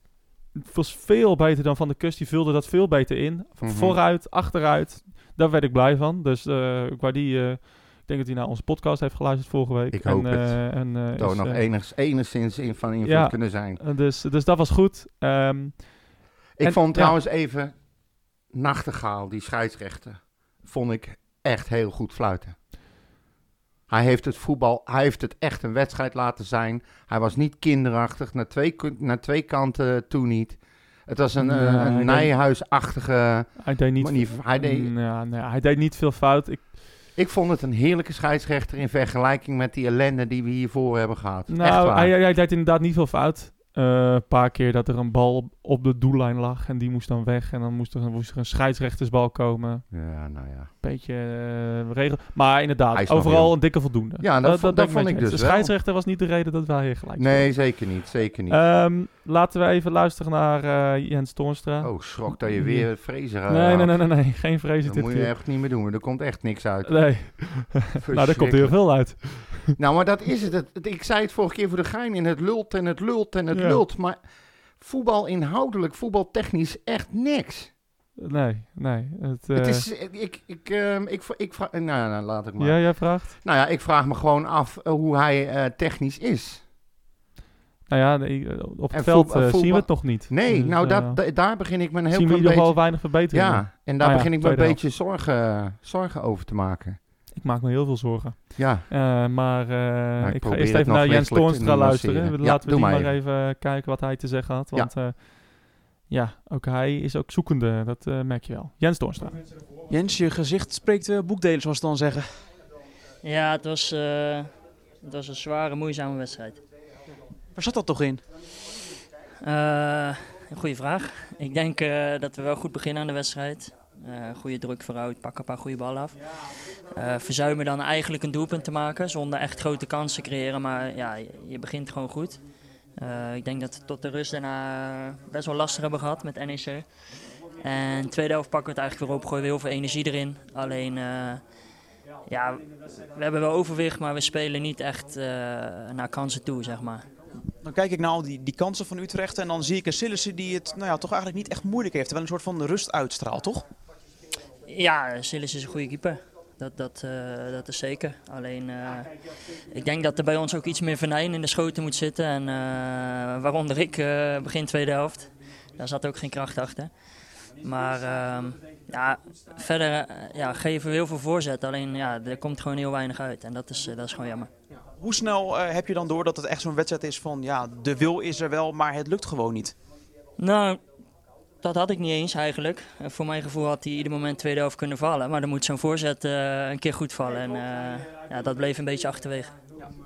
A: het was veel beter dan Van de Kust. Die vulde dat veel beter in.
B: Mhm.
A: Vooruit, achteruit. Daar werd ik blij van. Dus eh, ik waar die, eh, ik denk dat hij naar onze podcast heeft geluisterd vorige week.
B: Ik
A: En,
B: hoop het.
A: eh, en, eh,
B: Zou
A: is,
B: nog
A: eh,
B: enigszins, enigszins in van invloed
A: Ja.
B: kunnen zijn.
A: eh, dus, dus dat was goed. Ehm,
B: Ik
A: En-
B: vond
A: ja.
B: trouwens even Nachtegaal, die scheidsrechter, vond ik echt heel goed fluiten. Hij heeft het voetbal, hij heeft het echt een wedstrijd laten zijn. Hij was niet kinderachtig, naar twee, kun- naar twee kanten toe niet. Het was een, eh,
A: Nee,
B: een
A: hij deed-
B: nijhuisachtige
A: hij deed niet Mm.
B: manier. van- Hij deed,
A: Ja, nee, hij deed niet veel fout. Ik,
B: ik vond het een heerlijke scheidsrechter in vergelijking met die ellende die we hiervoor hebben gehad. echt
A: nou,
B: waar.
A: hij, hij deed inderdaad niet veel fout. Eh, Een paar keer dat er een bal op de doellijn lag en die moest dan weg. En dan moest er, moest er een scheidsrechtersbal komen.
B: ja, nou ja.
A: Beetje eh, regel. Maar
B: Hij
A: inderdaad,
B: is nog
A: overal
B: jong.
A: een dikke voldoende.
B: Ja, dat vond- dat
A: ben
B: vond
A: met
B: ik
A: je eens.
B: dus
A: De
B: wel.
A: scheidsrechter was niet de reden dat wij hier gelijk
B: Nee, zeker niet, zeker niet.
A: speelden. Ehm, laten we even luisteren naar eh, Jens Toornstra.
B: oh, schrok dat je weer vrezen eh, gaat.
A: mm. nee, nee, nee, nee, nee, geen vrezen
B: Dat
A: dit
B: moet je
A: keer.
B: echt niet meer doen, want er komt echt niks uit.
A: Nee, nou daar komt heel veel uit.
B: Nou, maar dat is het. Het- het- Ik zei het vorige keer voor de gein. En het lult en het lult en het
A: Ja.
B: lult. Maar voetbal inhoudelijk, voetbaltechnisch echt niks.
A: Nee, nee. Het,
B: het
A: eh,
B: is, ik, ik, ehm, ik, vra- ik vraag, nou, nou, laat ik maar.
A: ja, jij vraagt?
B: Nou ja, ik vraag me gewoon af eh, hoe hij eh, technisch is.
A: Nou ja, nee, op het
B: En
A: veld
B: voetbal-
A: eh, zien we
B: voetbal-
A: het nog niet.
B: Nee,
A: Dus,
B: nou
A: eh,
B: dat, da- daar begin ik me een heel
A: zien we in ieder
B: klein beetje...
A: geval weinig verbetering.
B: ja, en daar
A: Ah ja,
B: begin ik me een
A: tweede helft.
B: beetje zorgen, zorgen over te maken.
A: Ik maak me heel veel zorgen.
B: Ja,
A: Eh, maar eh,
B: Nou, ik
A: ik ga
B: probeer
A: eerst
B: het
A: even
B: nog
A: naar Jens
B: menselijk te
A: Toornstra luisteren.
B: nuanceren. Ja,
A: Laten we
B: doe
A: die
B: maar
A: maar even. eh, kijken wat hij te zeggen had. Want ja, ja ook hij is ook zoekende. Dat eh, merk je wel. Jens Toornstra.
E: Jens, je gezicht spreekt eh, boekdelen, zoals ze dan zeggen.
F: Ja, het was, eh, het was een zware, moeizame wedstrijd.
E: Waar zat dat toch in?
F: Eh, een goede vraag. Ik denk eh, dat we wel goed beginnen aan de wedstrijd. Eh, goede druk vooruit, pakken een paar goede ballen af. Eh, verzuimen dan eigenlijk een doelpunt te maken zonder echt grote kansen te creëren. Maar ja, je, je begint gewoon goed. Eh, ik denk dat we tot de rust daarna best wel lastig hebben gehad met NEC. En tweede helft pakken we het eigenlijk weer op, gooien we heel veel energie erin. Alleen, eh, ja, we hebben wel overwicht, maar we spelen niet echt eh, naar kansen toe, zeg maar.
E: Dan kijk ik naar al die, die kansen van Utrecht en dan zie ik een Sillissen die het nou ja, toch eigenlijk niet echt moeilijk heeft. Terwijl een soort van rust uitstraalt, toch?
F: Ja, Silas is een goede keeper. dat, dat, eh, dat is zeker. Alleen eh, ik denk dat er bij ons ook iets meer venijn in de schoten moet zitten. En, eh, waaronder ik eh, begin tweede helft. Daar zat ook geen kracht achter. Maar ehm, ja, verder eh, ja, geven we heel veel voorzet. Alleen ja, er komt gewoon heel weinig uit. En dat is, eh, dat is gewoon jammer.
E: Hoe snel eh, heb je dan door dat het echt zo'n wedstrijd is van ja, de wil is er wel, maar het lukt gewoon niet?
F: Nou, dat had ik niet eens eigenlijk. Eh, Voor mijn gevoel had hij ieder moment tweede helft kunnen vallen. Maar dan moet zo'n voorzet eh, een keer goed vallen. En eh, ja, dat bleef een beetje achterwege.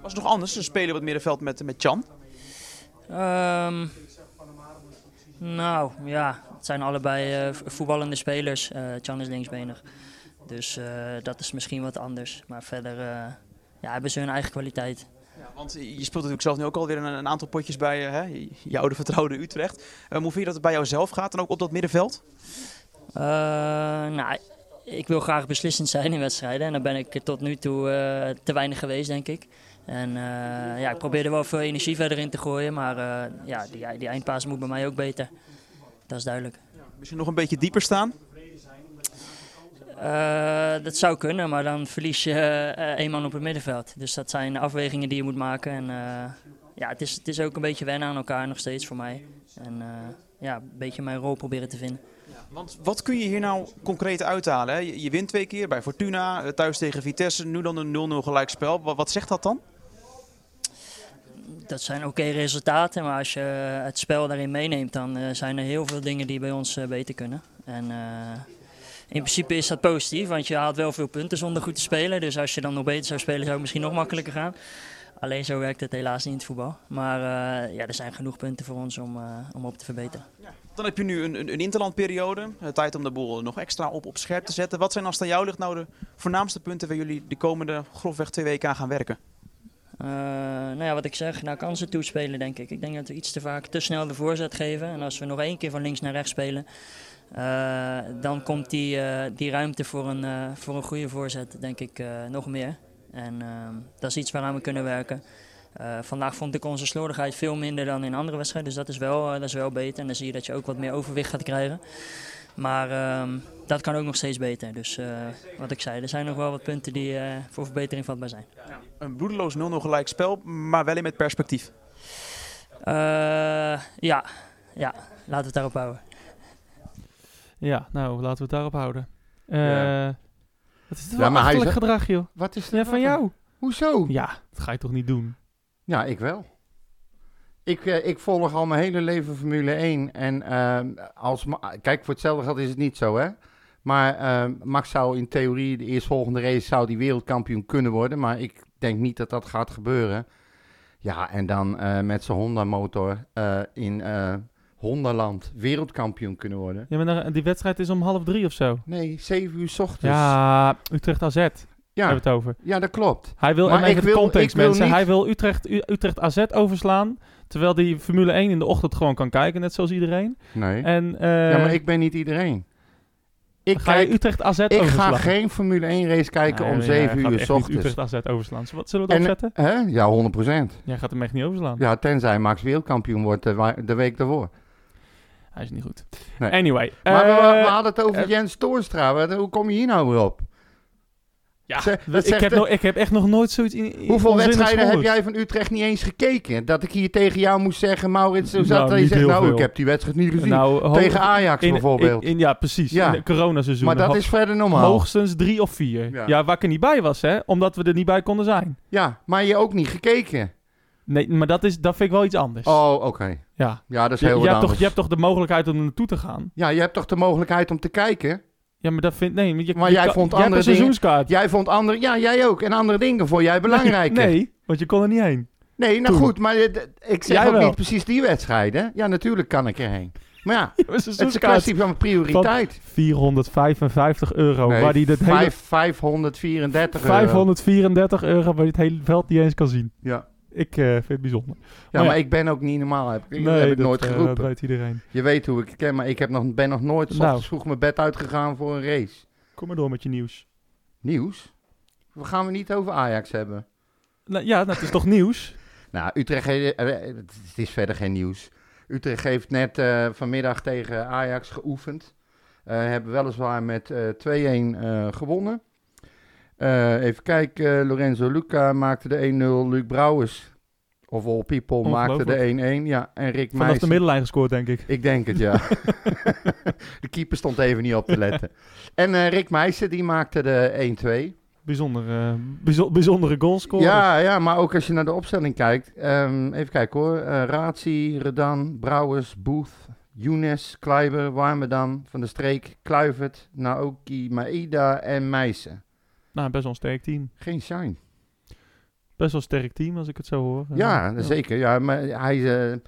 E: Was het nog anders? Ze spelen op het middenveld met, met Chan.
F: Ehm, nou ja, het zijn allebei eh, v- voetballende spelers. Eh Chan is linksbenig. Dus eh, dat is misschien wat anders. Maar verder eh, ja, hebben ze hun eigen kwaliteit.
E: Want je speelt natuurlijk zelf nu ook alweer een, een aantal potjes bij eh, hè, je- je oude vertrouwde Utrecht. Eh, hoe vind je dat het bij jouzelf gaat en ook op dat middenveld?
F: Eh, nou, ik wil graag beslissend zijn in wedstrijden. En daar ben ik tot nu toe eh, te weinig geweest, denk ik. En eh, ja, ik probeer er wel veel energie verder in te gooien. Maar eh, ja, die, die eindpaas moet bij mij ook beter. Dat is duidelijk.
E: Misschien nog een beetje dieper staan.
F: Eh, dat zou kunnen, maar dan verlies je eh, eh, één man op het middenveld. Dus dat zijn afwegingen die je moet maken. En eh, ja, het is, het is ook een beetje wennen aan elkaar nog steeds voor mij. En eh, ja, een beetje mijn rol proberen te vinden.
E: Want wat kun je hier nou concreet uithalen? Hè? Je, je wint twee keer bij Fortuna, eh, thuis tegen Vitesse, nu dan een 0-0 gelijkspel. Wat, wat zegt dat dan?
F: Dat zijn oké resultaten, maar als je het spel daarin meeneemt, dan eh, zijn er heel veel dingen die bij ons eh, beter kunnen. En eh, in principe is dat positief, want je haalt wel veel punten zonder goed te spelen. Dus als je dan nog beter zou spelen, zou het misschien nog makkelijker gaan. Alleen zo werkt het helaas niet in het voetbal. Maar eh, ja, er zijn genoeg punten voor ons om, eh, om op te verbeteren.
E: Dan heb je nu een, een, een interlandperiode. Eh, tijd om de boel nog extra op, op scherp te zetten. Wat zijn als het aan jou ligt nou de voornaamste punten waar jullie de komende grofweg twee weken aan gaan werken?
F: Eh, nou ja, wat ik zeg, naar kansen toespelen denk ik. Ik denk dat we iets te vaak te snel de voorzet geven. En als we nog één keer van links naar rechts spelen, eh, dan komt die, eh, die ruimte voor een, eh, voor een goede voorzet denk ik eh, nog meer. En ehm, dat is iets waaraan we kunnen werken. Eh, vandaag vond ik onze slordigheid veel minder dan in andere wedstrijden. Dus dat is, wel, eh, dat is wel beter. En dan zie je dat je ook wat meer overwicht gaat krijgen. Maar ehm, dat kan ook nog steeds beter. Dus eh, wat ik zei, er zijn nog wel wat punten die eh, voor verbetering vatbaar zijn.
E: Een bloedeloos 0-0 gelijkspel, maar wel in met perspectief.
F: Eh, ja. ja, laten we het daarop houden.
A: Ja, nou, laten we het daarop houden. Eh,
B: Ja.
A: Wat is
B: Ja,
A: dit wel
B: maar hij is
A: achterlijk gedrag, joh.
B: Wat is
A: Ja,
B: dat
A: van
B: dan?
A: jou.
B: Hoezo?
A: Ja, dat ga je toch niet doen?
B: Ja, ik wel. Ik, eh, ik volg al mijn hele leven Formule 1. En ehm, als Ma- kijk, voor hetzelfde geld is het niet zo, hè? Maar ehm, Max zou in theorie de eerstvolgende race zou die wereldkampioen kunnen worden. Maar ik denk niet dat dat gaat gebeuren. Ja, en dan eh, met zijn Honda-motor eh, in eh Honda-land wereldkampioen kunnen worden.
A: Ja, maar dan- die wedstrijd is om half drie of zo.
B: Nee, 7 uur s ochtends.
A: Ja, Utrecht AZ hebben we
B: ja,
A: het over.
B: ja, dat klopt.
A: Hij wil,
B: Maar
A: en even
B: ik
A: de
B: wil-
A: context
B: ik wil
A: mensen,
B: niet-
A: hij wil Utrecht, U- Utrecht AZ overslaan, terwijl die Formule 1 in de ochtend gewoon kan kijken, net zoals iedereen.
B: Nee.
A: En eh
B: ja, maar ik ben niet iedereen. Ik
A: ga je
B: kijk-
A: Utrecht AZ
B: Ik
A: overslaan.
B: ga geen Formule 1 race kijken
A: Nee,
B: om
A: nee,
B: 7
A: hij gaat
B: uur
A: echt
B: s
A: niet
B: ochtends.
A: Utrecht AZ overslaan. Zullen we dat
B: En-
A: opzetten?
B: Hè? Ja, 100%.
A: Jij gaat hem echt niet overslaan.
B: Ja, tenzij Max wereldkampioen wordt de, wa- de week daarvoor.
A: Hij is niet goed.
B: Nee.
A: Anyway.
B: Maar we,
A: eh,
B: we hadden het over
A: eh,
B: Jens Toornstra. Wat- Hoe kom je hier nou weer op?
A: ja,
B: ze-
A: we-
B: dat
A: ik,
B: zegt
A: heb nou e-
B: de-
A: nog, ik heb echt nog nooit zoiets in, in
B: Hoeveel
A: onzinnigs
B: wedstrijden heb
A: gehoord.
B: jij van Utrecht niet eens gekeken? Dat ik hier tegen jou moest zeggen, Maurits, hoe
A: Nou,
B: zat dat? Je
A: niet
B: zegt,
A: heel
B: nou,
A: veel.
B: ik heb die wedstrijd niet gezien.
A: Nou, ho-
B: tegen Ajax
A: in-
B: bijvoorbeeld.
A: in- in- ja, precies.
B: Ja.
A: In het coronaseizoen.
B: maar dat
A: Ho-
B: is verder normaal.
A: Hoogstens drie of vier. Ja.
B: Ja.
A: waar ik er niet bij was, hè. Omdat we er niet bij konden zijn.
B: Ja, maar je ook niet gekeken.
A: Nee, maar dat, is, dat vind ik wel iets anders.
B: Oh, oké.
A: Ja.
B: Ja, dat is
A: Je,
B: heel
A: je
B: wat
A: hebt toch,
B: anders.
A: je hebt toch de mogelijkheid om er naartoe te gaan?
B: Ja, je hebt toch de mogelijkheid om te kijken?
A: Ja, maar dat vind Nee, maar, je,
B: Maar
A: je
B: jij
A: kan-
B: vond
A: jij hebt
B: andere
A: een
B: dingen-
A: seizoenskaart.
B: Jij vond andere, ja, jij ook. En andere dingen vond jij belangrijker. Nee,
A: Nee, want je kon er niet heen.
B: nou
A: Toen.
B: goed, maar eh, d- ik zeg
A: Jij
B: ook
A: wel.
B: niet precies die wedstrijden. Ja, natuurlijk kan ik erheen. Maar ja,
A: Je hebt een
B: het is een
A: seizoenskaart.
B: kwestie van prioriteit.
A: 455 euro.
B: Nee,
A: Oh, waar die dat hele
B: vijf- 534 euro.
A: 534 euro waar je het hele veld niet eens kan zien.
B: Ja.
A: Ik eh, vind het bijzonder.
B: Ja,
A: ja.
B: maar ik ben ook niet normaal. Heb, ik heb ik
A: dat,
B: nooit
A: eh,
B: geroepen.
A: dat weet iedereen.
B: Je weet hoe ik het ken, maar ik heb nog, ben nog nooit 's
A: Nou.
B: ochtends vroeg mijn bed uitgegaan voor een race.
A: Kom maar door met je nieuws.
B: Nieuws? We gaan we niet over Ajax hebben.
A: Nou, ja, dat is toch nieuws?
B: Nou, Utrecht, he- eh, eh, het is verder geen nieuws. Utrecht heeft net eh, vanmiddag tegen Ajax geoefend. Eh hebben weliswaar met eh, 2-1 eh, gewonnen. Eh, even kijken, eh, Lorenzo Luca maakte de 1-0. Luc Brouwers, of All People, maakte de 1-1. Ja, en Rick
A: Vanaf de
B: Meijs.
A: middenlijn gescoord, denk ik.
B: Ik denk het, ja. de keeper stond even niet op te letten. En eh, Rick Meijsen, die maakte de 1-2.
A: Bijzonder, eh, bijzo- bijzondere goalscorer.
B: Ja, ja, maar ook als je naar de opstelling kijkt. ehm, even kijken hoor. Eh Razi, Redan, Brouwers, Booth, Younes, Kleiber, Warmerdam, Van der Streek, Kluivert, Naoki, Maeda en Meijsen.
A: Nou, best wel een sterk team.
B: Geen shine.
A: Best wel een sterk team, als ik het zo hoor. Eh,
B: Ja, zeker. Ja, maar hij, eh,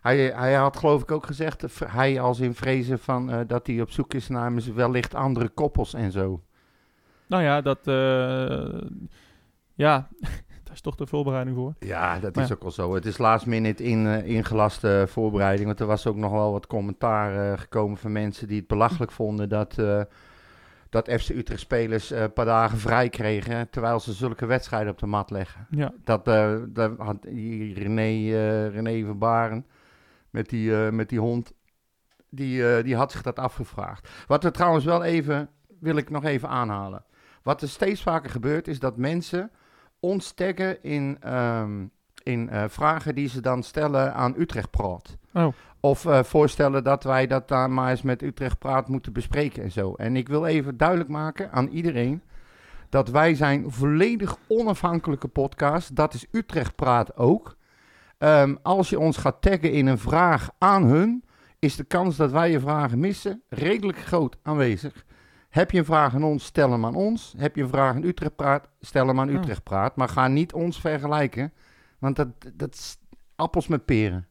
B: hij, hij had geloof ik ook gezegd, eh, v- hij als in vrezen van, eh, dat hij op zoek is naar mis- wellicht andere koppels en zo.
A: Nou ja, dat... eh, ja, daar is toch de voorbereiding voor.
B: Ja, dat
A: Maar
B: is
A: ja.
B: ook al zo. Het is last minute in, eh, ingelaste voorbereiding. Want er was ook nog wel wat commentaar eh, gekomen van mensen die het belachelijk vonden dat, eh, dat FC Utrecht spelers eh, een paar dagen vrij kregen. Terwijl ze zulke wedstrijden op de mat leggen.
A: Ja,
B: Dat, eh, dat had die René, eh, René van Baren met die, eh, met die hond. Die, eh, die had zich dat afgevraagd. Wat we trouwens wel even, wil ik nog even aanhalen. Wat er steeds vaker gebeurt, is dat mensen ons taggen in, ehm, in eh, vragen die ze dan stellen aan Utrecht Praat.
A: Oh.
B: Of eh, voorstellen dat wij dat daar maar eens met Utrecht Praat moeten bespreken en zo. En ik wil even duidelijk maken aan iedereen dat wij zijn volledig onafhankelijke podcast. Dat is Utrecht Praat ook. Ehm, als je ons gaat taggen in een vraag aan hun, is de kans dat wij je vragen missen redelijk groot aanwezig. Heb je een vraag aan ons, stel hem aan ons. Heb je een vraag aan Utrecht Praat, stel hem aan
A: Oh.
B: Utrecht Praat. Maar ga niet ons vergelijken, want dat, dat is appels met peren.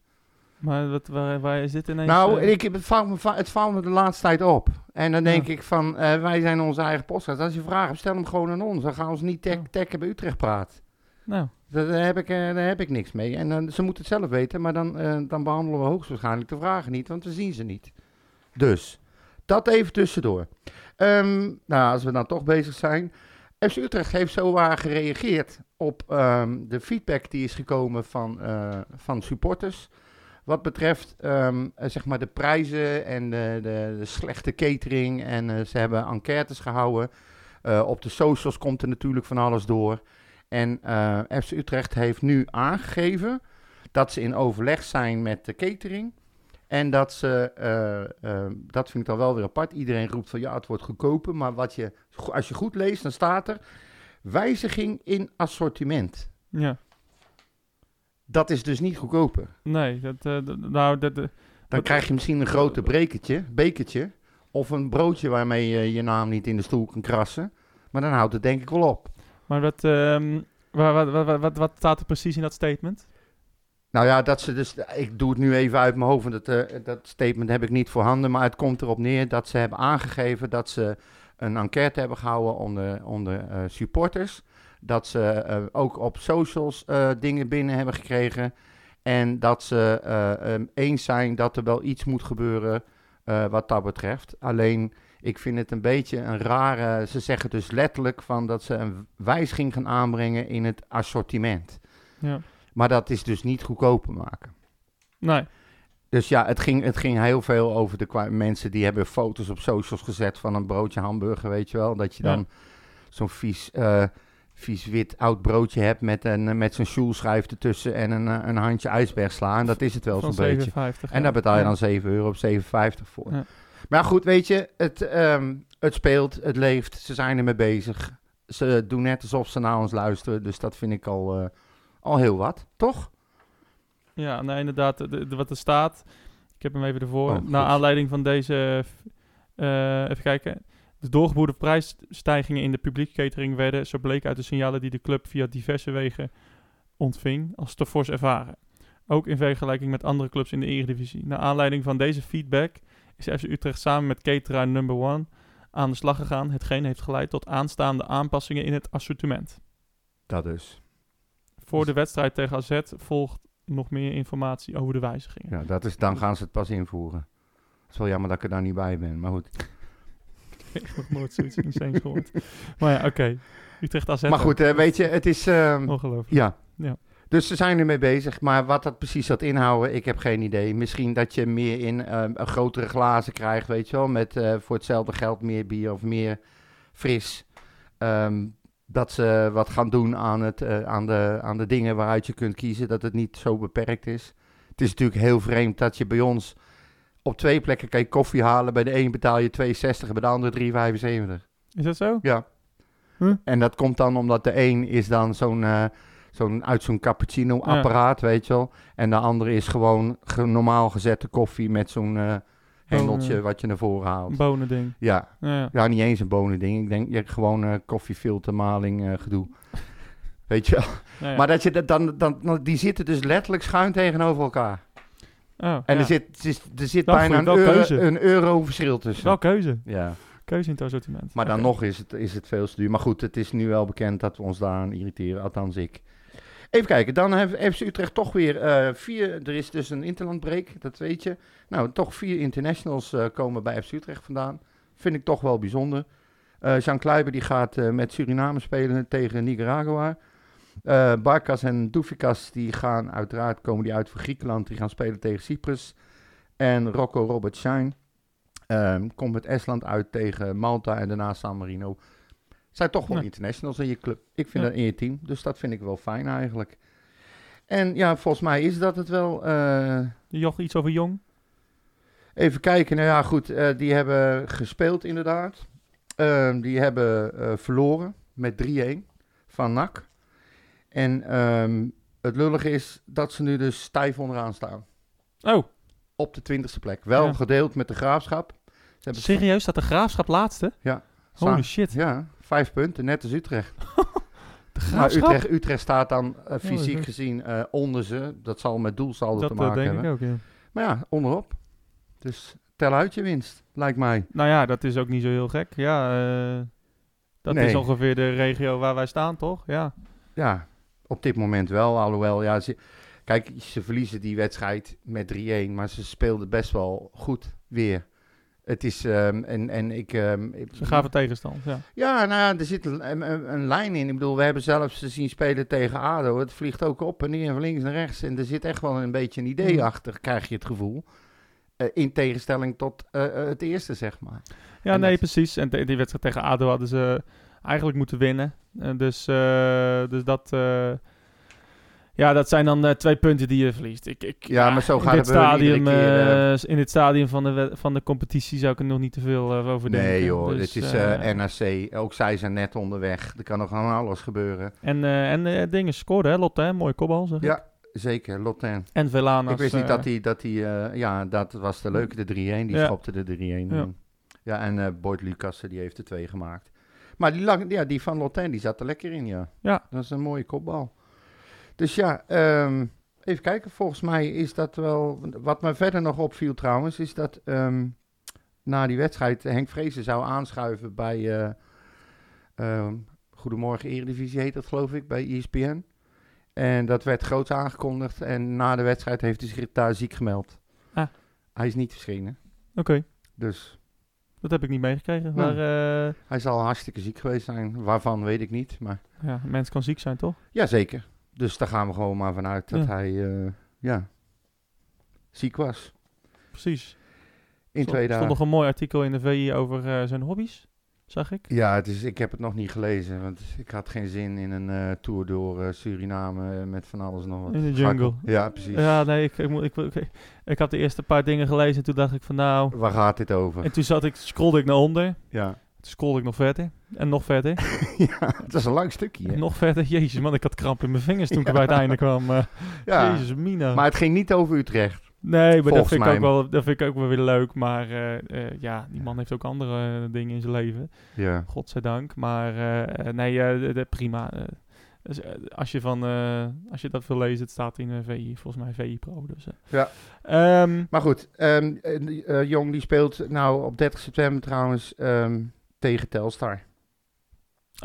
A: maar wat, waar, waar is dit ineens?
B: Nou,
A: eh,
B: ik, het, valt me, va- het valt me de laatste tijd op. En dan denk
A: Ja.
B: ik van, eh, wij zijn onze eigen podcast. Als je vragen hebt, stel hem gewoon aan ons. Dan gaan we ons niet tag-
A: Ja.
B: taggen bij Utrecht Praat.
A: nou,
B: Daar daar heb, ik, eh, daar heb ik niks mee. En dan ze moeten het zelf weten, maar dan, eh, dan behandelen we hoogstwaarschijnlijk de vragen niet, want we zien ze niet. Dus, dat even tussendoor. Ehm, nou, als we dan toch bezig zijn. FC Utrecht heeft zowaar gereageerd op ehm, de feedback die is gekomen van, eh, van supporters. Wat betreft ehm, eh, zeg maar de prijzen en de, de, de slechte catering. En eh, ze hebben enquêtes gehouden. Eh, op de socials komt er natuurlijk van alles door. En eh, FC Utrecht heeft nu aangegeven dat ze in overleg zijn met de catering. En dat ze, eh, eh, dat vind ik dan wel weer apart. Iedereen roept van ja, het wordt goedkoper. Maar wat je, als je goed leest, dan staat er wijziging in assortiment.
A: ja.
B: Dat is dus niet goedkoper.
A: Nee, dat, eh, d- nou, dat, eh,
B: Dan
A: Wat-
B: krijg je misschien een grote brekertje, bekertje. Of een broodje waarmee je je naam niet in de stoel kan krassen. Maar dan houdt het denk ik wel op.
A: maar wat, ehm, waar, wat, wat, wat, wat, wat staat er precies in dat statement?
B: Nou ja, dat ze dus. Ik doe het nu even uit mijn hoofd, want dat, eh, dat statement heb ik niet voorhanden. Maar het komt erop neer dat ze hebben aangegeven dat ze een enquête hebben gehouden onder, onder eh, supporters. Dat ze eh, ook op socials eh, dingen binnen hebben gekregen. En dat ze eh, ehm, eens zijn dat er wel iets moet gebeuren eh, wat dat betreft. Alleen, ik vind het een beetje een rare... Ze zeggen dus letterlijk van dat ze een wijziging gaan aanbrengen in het assortiment.
A: Ja.
B: Maar dat is dus niet goedkoper maken.
A: Nee,
B: Dus ja, het ging, het ging heel veel over de kwa- mensen die hebben foto's op socials gezet van een broodje hamburger, weet je wel. Dat je
A: Ja.
B: dan zo'n vies, eh, vies wit oud broodje hebt met, een, eh, met zo'n sjoelschijf ertussen en een, eh, een handje ijsbergsla. En dat is het wel
A: van
B: zo'n beetje.
A: 57.
B: En
A: ja.
B: daar betaal je
A: Ja.
B: dan 7 euro of 7,50 voor.
A: Ja.
B: Maar goed, weet je, het, ehm, het speelt, het leeft, ze zijn ermee bezig. Ze doen net alsof ze naar ons luisteren, dus dat vind ik al, eh, al heel wat, toch?
A: Ja, nee, inderdaad. de- de- wat er staat. Ik heb hem even ervoor.
B: Oh, goed.
A: Naar aanleiding van deze. eh, even kijken. De doorgeboerde prijsstijgingen in de publiek catering werden, zo bleek uit de signalen die de club via diverse wegen ontving, als te fors ervaren. Ook in vergelijking met andere clubs in de Eredivisie. Naar aanleiding van deze feedback is FC Utrecht samen met cateraar number one aan de slag gegaan, hetgeen heeft geleid tot aanstaande aanpassingen in het assortiment.
B: Dat dus.
A: Voor de wedstrijd tegen AZ volgt nog meer informatie over de wijzigingen.
B: Ja, dat is, dan gaan ze het pas invoeren. Het is wel jammer dat ik er daar niet bij ben, maar goed.
A: Ik heb nog nooit zoiets insane gehoord. Maar ja, oké. Utrecht AZ.
B: Maar goed, eh, weet je, het is... ehm,
A: Ongelooflijk.
B: Ja.
A: Ja.
B: Dus ze zijn ermee bezig, maar wat dat precies gaat inhouden, ik heb geen idee. Misschien dat je meer in ehm, een grotere glazen krijgt, weet je wel, met eh, voor hetzelfde geld meer bier of meer fris. Ehm, dat ze wat gaan doen aan, het, eh, aan, de, aan de dingen waaruit je kunt kiezen. Dat het niet zo beperkt is. Het is natuurlijk heel vreemd dat je bij ons op twee plekken kan je koffie halen. Bij de een betaal je 2,60 bij de andere 3,75.
A: Is dat zo?
B: Ja.
A: Huh?
B: En dat komt dan omdat de een is dan zo'n eh, zo'n uit zo'n cappuccino apparaat, weet je wel. En de andere is gewoon ge- normaal gezette koffie met zo'n eh hendeltje
A: Bonen.
B: wat je naar voren haalt.
A: Een bonen ding.
B: Ja.
A: Ja.
B: ja, niet eens een bonen ding. Ik denk je hebt gewoon eh, koffiefiltermaling eh, gedoe. Weet je wel.
A: Nou ja.
B: Maar dat je dat dan, dan, dan- die zitten dus letterlijk schuin tegenover elkaar.
A: Oh,
B: En
A: ja.
B: er zit, er zit, er zit
A: Dat
B: bijna
A: vond
B: een
A: ik wel
B: euro,
A: keuze.
B: een euro verschil tussen.
A: Wel keuze.
B: Ja.
A: Keuze in het assortiment.
B: Maar dan
A: Oké.
B: nog is het, is het veel te duur. Maar goed, het is nu wel bekend dat we ons daaraan irriteren. Althans, ik. Even kijken, dan heeft FC Utrecht toch weer eh, vier... Er is dus een interlandbreak, dat weet je. Nou, toch vier internationals eh, komen bij FC Utrecht vandaan. Vind ik toch wel bijzonder. Eh Jean Kluiber die gaat eh, met Suriname spelen tegen Nicaragua. Eh Barkas en Doufikas die gaan uiteraard komen die uit voor Griekenland. Die gaan spelen tegen Cyprus. En Rocco Robert Shine ehm, komt met Estland uit tegen Malta en daarna San Marino. Zijn toch wel
A: Ja.
B: internationals in je club. Ik vind
A: Ja.
B: dat in je team. Dus dat vind ik wel fijn eigenlijk. En ja, volgens mij is dat het wel. eh,
A: Joch, iets over Jong.
B: Even kijken, nou ja, goed, eh, die hebben gespeeld inderdaad. Ehm, die hebben eh, verloren met 3-1 van NAC. En ehm, het lullige is dat ze nu dus stijf onderaan staan.
A: Oh,
B: Op de twintigste plek. Wel
A: Ja.
B: gedeeld met de graafschap. Ze hebben
A: serieus? Staat de graafschap laatste?
B: staan-
A: Holy shit.
B: Ja, vijf punten, net als Utrecht.
A: De
B: Maar
A: graafschap?
B: Utrecht, Utrecht staat dan eh, fysiek
A: dat-
B: gezien eh, onder ze. Dat zal met doelsaldo
A: dat
B: te
A: eh,
B: maken
A: denk
B: hebben.
A: ik ook, ja.
B: Maar ja, onderop. Dus tel uit je winst, lijkt mij.
A: Nou ja, dat is ook niet zo heel gek. Ja, eh, dat
B: Nee.
A: is ongeveer de regio waar wij staan, toch? Ja.
B: Ja, op dit moment wel. Alhoewel, ja, ze, kijk, ze verliezen die wedstrijd met 3-1, maar ze speelden best wel goed weer. Het is, ehm, en, en ik... ehm, ik-
A: Ze gaven tegenstand, ja.
B: Ja, nou ja, er zit een, een- een, een lijn in. Ik bedoel, we hebben zelfs ze zien spelen tegen ADO. Het vliegt ook op en neer, van links naar rechts. En er zit echt wel een beetje een idee
A: Hmm.
B: achter, krijg je het gevoel. Eh, in tegenstelling tot eh, eh, het eerste, zeg maar.
A: Ja,
B: En
A: nee,
B: dat-
A: precies. En te- die wedstrijd tegen ADO hadden ze eigenlijk moeten winnen. En dus, eh, dus dat... eh, ja, dat zijn dan eh, twee punten die je verliest. Ik, ik,
B: Ja, maar zo
A: in
B: gaat
A: dit
B: het bij hun iedere
A: stadium,
B: keer,
A: eh, In dit stadium van de, wed- van de competitie zou ik er nog niet te veel eh, over denken.
B: Nee joh,
A: Dus,
B: dit is
A: eh,
B: eh, NAC. Ook zij zijn net onderweg. Er kan nog aan alles gebeuren.
A: En, eh, en eh, dingen scoren, hè, Lotte? Hè? Mooie kopbal, zeg.
B: Ja. Zeker, Lotten.
A: En Velanas.
B: Ik wist niet
A: eh,
B: dat hij, dat hij eh, ja, dat was de leuke, de 3-1, die
A: Ja.
B: schopte de 3-1 in.
A: Ja.
B: Ja, en eh Boyd Lucassen, die heeft de 2 gemaakt. Maar die, lang, ja, die van Lotten, die zat er lekker in, ja.
A: Ja.
B: Dat is een mooie kopbal. Dus ja, ehm, even kijken, volgens mij is dat wel... Wat me verder nog opviel trouwens, is dat ehm, na die wedstrijd Henk Vrezen zou aanschuiven bij... eh, ehm, Goedemorgen Eredivisie heet dat geloof ik, bij E ESPN. En dat werd groots aangekondigd. En na de wedstrijd heeft hij zich daar ziek gemeld.
A: Ah.
B: Hij is niet verschenen.
A: Oké,
B: Dus
A: dat heb ik niet meegekregen.
B: Nee.
A: Maar eh,
B: hij zal hartstikke ziek geweest zijn. Waarvan weet ik niet. Maar
A: ja, een mens kan ziek zijn, toch?
B: jazeker. Dus daar gaan we gewoon maar vanuit dat
A: Ja.
B: hij eh, ja, ziek was.
A: Precies.
B: In
A: Stond-
B: twee dagen.
A: stond nog een mooi artikel in de VI over eh, zijn hobby's, zag ik.
B: Ja, het is, ik heb het nog niet gelezen. Want ik had geen zin in een eh, tour door eh, Suriname eh, met van alles en nog wat.
A: In de
B: Ga ik-
A: jungle.
B: Ja, precies.
A: Ja, nee, ik, ik, moet- ik, ik, ik, ik had de eerste paar dingen gelezen en toen dacht ik van nou...
B: Waar gaat dit over?
A: En toen zat ik, scrolde ik naar onder.
B: Ja.
A: Toen scrolde ik nog verder. En nog verder.
B: ja, het is een lang stukje. hè?
A: En nog verder. Jezus man, ik had kramp in mijn vingers toen ik bij het einde kwam. eh.
B: Ja.
A: Jezus mina.
B: Maar het ging niet over Utrecht.
A: nee, maar dat
B: volgens
A: vind, ik ook
B: mij-
A: wel, dat vind ik ook wel weer leuk. Maar eh, eh, ja, die man heeft ook andere eh, dingen in zijn leven.
B: Ja.
A: Godzijdank. Maar eh, eh, nee, eh, de- de- prima. eh. Dus, eh, als, je van, eh, als je dat wil lezen, het staat in eh, VI, volgens mij VI Pro. Dus, eh.
B: Ja.
A: Ehm,
B: Maar goed, ehm, eh, die, eh, Jong die speelt nou op 30 september trouwens ehm, tegen Telstar.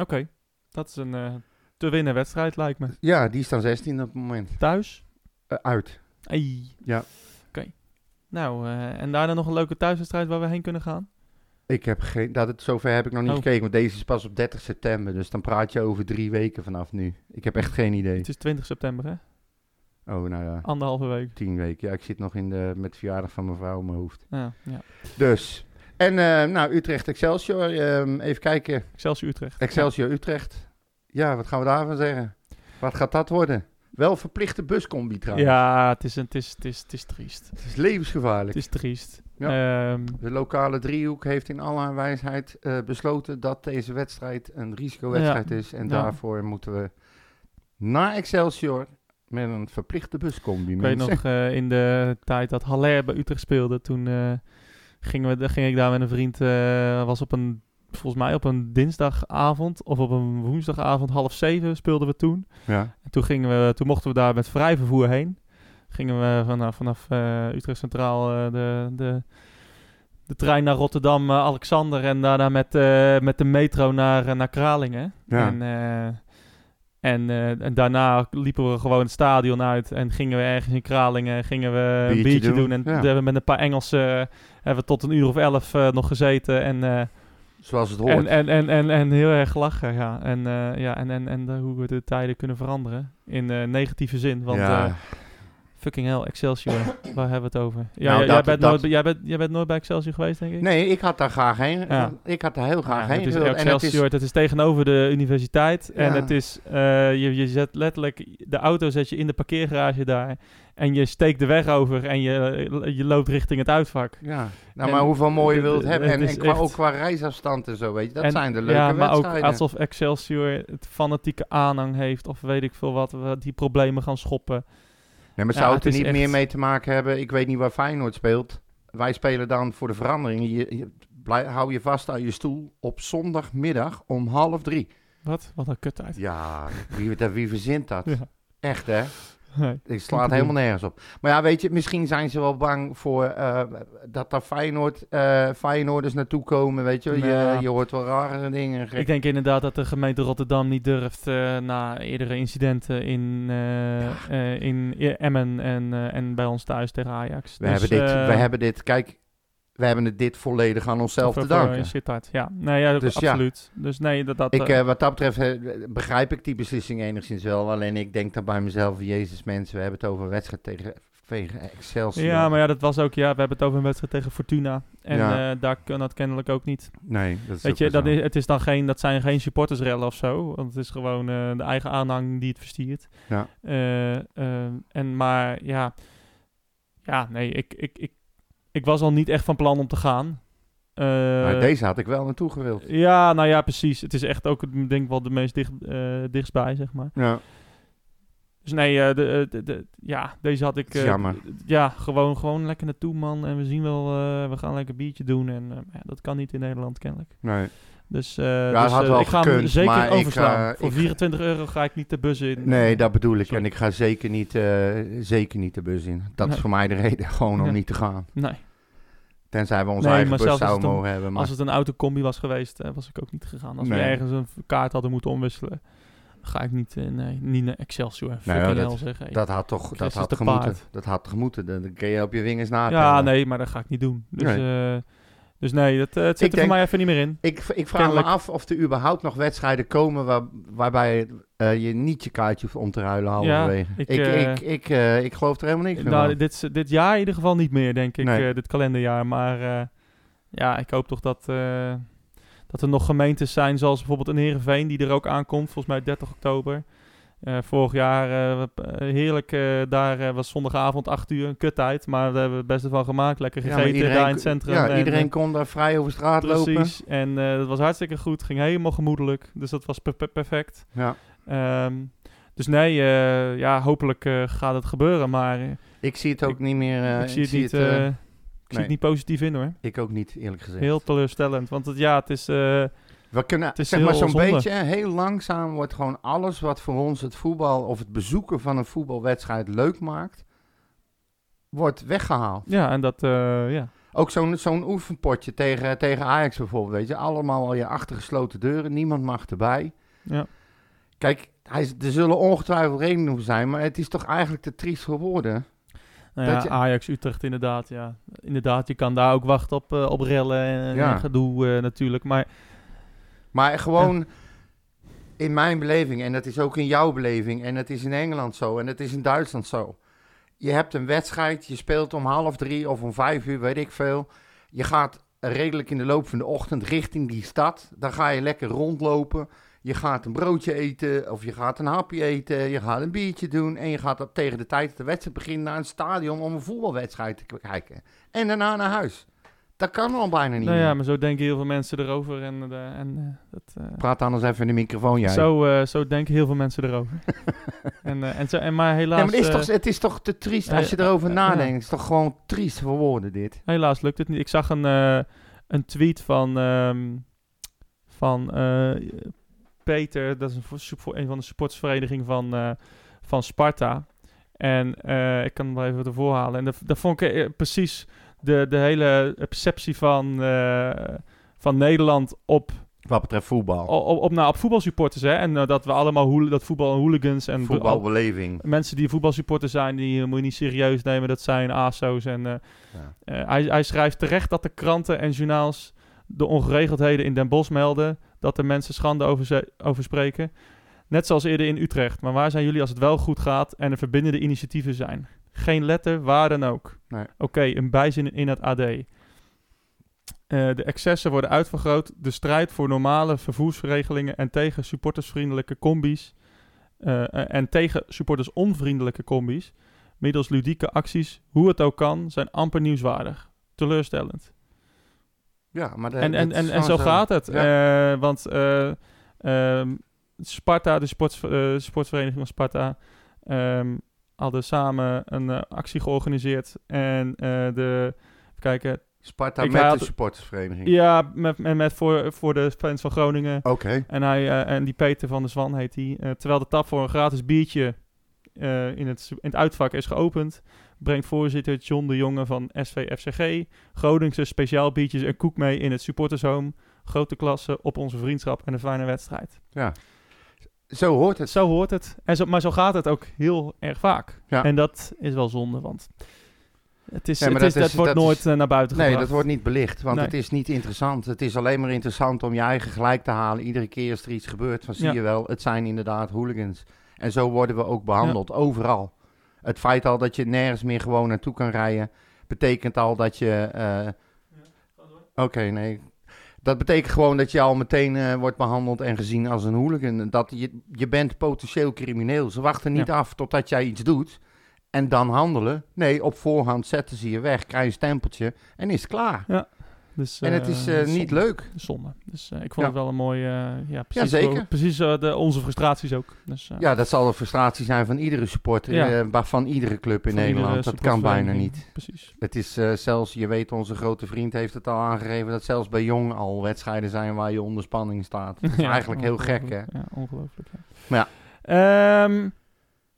A: Oké, dat is een eh, te winnen wedstrijd, lijkt me.
B: Ja, die staan 16 op het moment.
A: Thuis?
B: Eh, uit.
A: Ei.
B: Ja.
A: Oké. Nou, eh, en daarna nog een leuke thuiswedstrijd waar we heen kunnen gaan?
B: Ik heb geen, dat het, zover heb ik nog niet
A: Oh.
B: gekeken, want deze is pas op 30 september. Dus dan praat je over drie weken vanaf nu. Ik heb echt geen idee.
A: Het is 20 september, hè?
B: Oh, nou ja,
A: Anderhalve week.
B: tien weken. Ja, ik zit nog in de, met de verjaardag van mijn vrouw in mijn hoofd.
A: Ja, ja.
B: Dus, en eh, nou, Utrecht Excelsior. ehm, even kijken,
A: Excelsior Utrecht.
B: Excelsior Utrecht. Ja, wat gaan we daarvan zeggen? Wat gaat dat worden? Wel verplichte buscombi trouwens.
A: Ja, het is, een, het, is, het, is, het is triest.
B: Het is levensgevaarlijk.
A: Het is triest. Ehm, Ja.
B: De lokale driehoek heeft in alle haar wijsheid eh, besloten dat deze wedstrijd een risicowedstrijd is. En
A: Ja.
B: daarvoor moeten we naar Excelsior met een verplichte buscombi.
A: Ik weet
B: mensen.
A: nog eh, in de tijd dat Haller bij Utrecht speelde, toen eh, gingen we, ging ik daar met een vriend, eh, was op een, volgens mij op een dinsdagavond of op een woensdagavond, half zeven speelden we toen.
B: Ja.
A: En toen, gingen we, toen mochten we daar met vrij vervoer heen. Gingen we vanaf, vanaf eh, Utrecht Centraal eh, de, de, de trein naar Rotterdam, eh, Alexander en daarna met, eh, met de metro naar, eh, naar Kralingen.
B: Ja.
A: En, eh, en, eh, en daarna liepen we gewoon het stadion uit en gingen we ergens in Kralingen gingen we
B: Biertje
A: een biertje
B: doen,
A: doen. En
B: ja.
A: toen hebben we met een paar Engelsen eh, hebben we tot een uur of elf eh, nog gezeten en, eh,
B: Zoals het hoort.
A: en, en, en, en, en heel erg lachen. Ja. En, eh, ja, en, en, en de- hoe we de tijden kunnen veranderen in eh, negatieve zin. Want
B: ja,
A: eh, fucking hell, Excelsior, waar hebben we het over? Ja,
B: Nou,
A: jij-
B: dat-
A: jij, bent
B: dat-
A: nooit, bij- jij, bent, jij bent nooit bij Excelsior geweest, denk ik?
B: nee, ik had daar graag heen.
A: Ja.
B: Ik had daar heel
A: Ja,
B: graag heen.
A: Het is
B: gewild. En het is-
A: Excelsior, het is tegenover de universiteit. En
B: Ja.
A: het is, eh, je, je zet letterlijk, de auto zet je in de parkeergarage daar. En je steekt de weg over en je, je loopt richting het uitvak.
B: Ja, nou,
A: En
B: maar hoeveel mooie
A: het-
B: wil het
A: het
B: hebben? En,
A: is
B: en qua,
A: echt-
B: ook qua reisafstand en zo, weet je. Dat
A: En-
B: zijn de leuke
A: Ja, maar ook
B: wedstrijden.
A: alsof Excelsior het fanatieke aanhang heeft of weet ik veel wat, we die problemen gaan schoppen.
B: Nee, maar
A: Ja,
B: zou
A: het
B: het er
A: is
B: niet
A: echt-
B: meer mee te maken hebben? Ik weet niet waar Feyenoord speelt. Wij spelen dan voor de verandering. Je, je, blij- hou je vast aan je stoel op zondagmiddag om half drie.
A: Wat? Wat een kut uit.
B: Ja, wie, dat, wie verzint dat?
A: Ja.
B: Echt, hè?
A: Nee.
B: Ik slaat het helemaal nergens op. Maar ja, weet je, misschien zijn ze wel bang voor eh, dat daar Feyenoord, eh Feyenoorders naartoe komen, weet je. wel. Je,
A: Nou.
B: je hoort wel rare dingen.
A: Ik denk inderdaad dat de gemeente Rotterdam niet durft eh, na eerdere incidenten in, eh, eh, in Emmen en, eh, en bij ons thuis tegen Ajax.
B: We,
A: Dus,
B: hebben dit,
A: eh,
B: we hebben dit, kijk, we hebben het dit volledig aan onszelf
A: Voor-
B: te
A: voor, eh,
B: danken.
A: Sittard, ja. Nee, ja,
B: Dus ja.
A: absoluut. Dus nee, dat... dat
B: Ik,
A: eh,
B: eh, wat dat betreft eh, begrijp ik die beslissing enigszins wel. Alleen ik denk dan bij mezelf, jezus mensen, we hebben het over een wedstrijd tegen, tegen Excelsior.
A: ja, maar ja, dat was ook... Ja, we hebben het over een wedstrijd tegen Fortuna. En
B: Ja.
A: eh, daar kan dat kennelijk ook niet.
B: Nee, dat is
A: Weet
B: ook
A: je,
B: wel
A: dat,
B: zo.
A: is, het is dan geen, dat zijn geen supportersrellen of zo. Want het is gewoon eh, de eigen aanhang die het verstiert.
B: Ja.
A: Eh, eh, en maar, ja... Ja, nee, ik, ik, ik, ik was al niet echt van plan om te gaan. Eh,
B: Maar deze had ik wel naartoe gewild.
A: Ja, nou ja, precies. Het is echt ook, denk ik wel, de meest dicht, eh, dichtstbij, zeg maar.
B: Ja,
A: Dus nee, eh, de, eh, de, de- ja, deze had ik.
B: Het is
A: eh,
B: jammer.
A: d- d- ja, gewoon, gewoon lekker naartoe, man. En we zien wel, eh, we gaan lekker een biertje doen. En eh, ja, dat kan niet in Nederland, kennelijk.
B: nee.
A: Dus, eh,
B: het
A: dus,
B: had
A: eh,
B: wel
A: ik ga hem
B: gekund, maar
A: zeker
B: ik,
A: overslaan.
B: eh,
A: Voor
B: ik-
A: 24 euro ga ik niet de bus in.
B: nee, dat bedoel ik.
A: eh, Sorry.
B: En ik ga zeker niet, eh, zeker niet de bus in. Dat is
A: Nee.
B: voor mij de reden, gewoon om
A: Ja.
B: niet te gaan.
A: Nee.
B: Tenzij we onze
A: Nee,
B: eigen
A: maar
B: bus
A: zelfs als het
B: zouden
A: een-
B: mogen hebben. Maar
A: Als het een autocombi was geweest, eh, was ik ook niet gegaan. Als we
B: Nee.
A: ergens een v- kaart hadden moeten omwisselen, ga ik niet, eh, nee, niet naar Excelsior. Fucking
B: ja, dat-
A: hell, zeg, hey.
B: dat had toch dat
A: Christus
B: had
A: te
B: gemoeten.
A: paard.
B: Dat had gemoeten. Dan kun je op je vingers na.
A: ja, nee, maar dat ga ik niet doen. Dus nee, dus nee dat, eh, het zit
B: Ik
A: er
B: denk-
A: voor mij even niet meer in.
B: Ik, ik vraag
A: Kennelijk.
B: me af of er überhaupt nog wedstrijden komen waar, waarbij eh, je niet je kaartje hoeft om te ruilen halverwege.
A: Ja,
B: ik,
A: ik,
B: ik,
A: eh,
B: ik, eh, ik geloof er helemaal niks meer
A: Nou,
B: van.
A: dit, is- dit jaar in ieder geval niet meer, denk ik,
B: Nee.
A: eh, dit kalenderjaar. Maar eh, ja, ik hoop toch dat, eh, dat er nog gemeentes zijn, zoals bijvoorbeeld in Heerenveen, die er ook aankomt, volgens mij 30 oktober. Eh, vorig jaar, eh, we- eh, heerlijk, eh, daar eh, was zondagavond 8 uur, een kuttijd, maar we hebben het beste van gemaakt. Lekker
B: Ja, maar
A: gegeten daar in het
B: kon-
A: centrum.
B: Ja,
A: en,
B: iedereen
A: eh,
B: kon daar vrij over straat lopen.
A: Precies, en eh, dat was hartstikke goed, ging helemaal gemoedelijk, dus dat was per- per- perfect.
B: Ja.
A: Ehm, dus nee, eh, ja, hopelijk eh, gaat het gebeuren, maar eh,
B: Ik zie het ook
A: Ik-
B: niet meer. eh,
A: ik zie het niet...
B: eh,
A: eh, ik zie
B: nee.
A: het niet positief in hoor.
B: ik ook niet, eerlijk gezegd.
A: Heel teleurstellend. Want het, ja, het is. eh,
B: We kunnen
A: is
B: zeg maar
A: heel
B: zo'n
A: zonde.
B: beetje eh, heel langzaam wordt gewoon alles wat voor ons het voetbal of het bezoeken van een voetbalwedstrijd leuk maakt, wordt weggehaald.
A: ja, en dat. eh, ja.
B: Ook zo'n zo'n oefenpotje tegen, tegen Ajax bijvoorbeeld, weet je. Allemaal al je achtergesloten deuren, niemand mag erbij.
A: Ja.
B: Kijk, hij, is- er zullen ongetwijfeld redenen voor zijn, maar het is toch eigenlijk te triest geworden.
A: Nou ja,
B: Dat je-
A: Ajax, Utrecht, inderdaad. Ja. Inderdaad, je kan daar ook wachten op, eh, op rellen en,
B: Ja.
A: en gedoe eh, natuurlijk. Maar
B: Maar gewoon in mijn beleving, en dat is ook in jouw beleving, en dat is in Engeland zo, en dat is in Duitsland zo. Je hebt een wedstrijd, je speelt om half drie of om vijf uur, weet ik veel. Je gaat redelijk in de loop van de ochtend richting die stad. Dan ga je lekker rondlopen. Je gaat een broodje eten of je gaat een hapje eten, je gaat een biertje doen en je gaat op tegen de tijd dat de wedstrijd begint naar een stadion om een voetbalwedstrijd te kijken. En daarna naar huis. Dat kan al bijna niet.
A: Nou ja,
B: meer.
A: maar zo denken heel veel mensen erover. En, eh, en eh, dat, eh,
B: Praat anders even in de microfoon, jij.
A: zo, eh, zo denken heel veel mensen erover. en, eh, en, zo, en, maar helaas,
B: Ja, maar het, is
A: eh,
B: toch, het is toch te triest
A: eh,
B: als je erover
A: eh,
B: nadenkt.
A: ja.
B: Het is toch gewoon triest voor woorden dit.
A: helaas lukt het niet. Ik zag een, eh, een tweet van, ehm, van eh, Peter, dat is een, voor- voor een van de supportsverenigingen van, eh, van Sparta. En eh, ik kan hem wel even ervoor halen. En dat, dat vond ik eh, precies de, de hele perceptie van, eh, van Nederland op
B: Wat betreft voetbal.
A: O- op, op, nou, op voetbalsupporters, hè. En eh, dat we allemaal hoel- dat voetbal en hooligans en al-
B: Voetbalbeleving.
A: mensen die voetbalsupporter zijn, die eh, moet je niet serieus nemen. Dat zijn ASO's. En, eh, eh, hij, hij schrijft terecht dat de kranten en journaals de ongeregeldheden in Den Bosch melden. Dat er mensen schande over, ze- over spreken. Net zoals eerder in Utrecht. Maar waar zijn jullie als het wel goed gaat en er verbindende initiatieven zijn? Geen letter, waar dan ook.
B: Nee.
A: Oké, een bijzin in het AD. Eh, de excessen worden uitvergroot. De strijd voor normale vervoersregelingen en tegen supportersvriendelijke combi's. eh, eh, en tegen supportersonvriendelijke combi's. Middels ludieke acties, hoe het ook kan, zijn amper nieuwswaardig. Teleurstellend.
B: Ja, maar de-
A: En, en,
B: dat is
A: en, en zo
B: gewoon
A: gaat het. Eh, want eh, ehm, Sparta, de sports, eh, sportvereniging van Sparta, ehm, hadden samen een eh, actie georganiseerd. En eh, de, even kijken,
B: Sparta
A: Ik
B: met
A: haat-
B: de supportersvereniging.
A: ja, met, met, met voor, voor de fans van Groningen.
B: Oké.
A: En, hij, eh, en die Peter van der Zwan heet die. eh, terwijl de tap voor een gratis biertje eh, in, het, su- in het uitvak is geopend, brengt voorzitter John de Jonge van SVFCG Groningse speciaal biertjes en koek mee in het supportershome. Grote klasse op onze vriendschap en een fijne wedstrijd.
B: Ja. Zo hoort het.
A: Zo hoort het. En zo, maar zo gaat het ook heel erg vaak.
B: Ja.
A: En dat is wel zonde, want het, is,
B: Ja, maar
A: het is,
B: dat
A: dat
B: is-
A: wordt
B: dat
A: nooit
B: is-
A: eh, naar buiten
B: Nee,
A: gebracht.
B: dat wordt niet belicht, want
A: Nee.
B: het is niet interessant. Het is alleen maar interessant om je eigen gelijk te halen. Iedere keer als er iets gebeurt, van zie
A: Ja.
B: je wel, het zijn inderdaad hooligans. En zo worden we ook behandeld, overal. Het feit al dat je nergens meer gewoon naartoe kan rijden, betekent al dat je... eh, Oké, nee. Dat betekent gewoon dat je al meteen eh, wordt behandeld en gezien als een hooligan. Dat je, je bent potentieel crimineel. Ze wachten niet af totdat jij iets doet en dan handelen. Nee, op voorhand zetten ze je weg, krijg je een stempeltje en is het klaar.
A: Dus,
B: En het is
A: eh,
B: eh,
A: zonde.
B: niet leuk.
A: zonde. Dus eh, ik vond
B: Ja.
A: het wel een mooi... eh, ja, precies,
B: Ja, zeker.
A: wel- precies eh, de, onze frustraties ook. Dus, eh,
B: Ja, dat zal een frustratie zijn van iedere supporter,
A: Ja.
B: eh, maar van iedere club in
A: van iedere
B: Nederland. Dat kan bijna
A: supportvereniging.
B: niet.
A: eh, Precies.
B: Het is eh, zelfs, je weet, onze grote vriend heeft het al aangegeven, dat zelfs bij Jong al wedstrijden zijn waar je onder spanning staat. Dat is
A: Ja,
B: eigenlijk heel gek, hè?
A: ongelooflijk. Ja, ongelooflijk. Ja.
B: Maar
A: Ehm,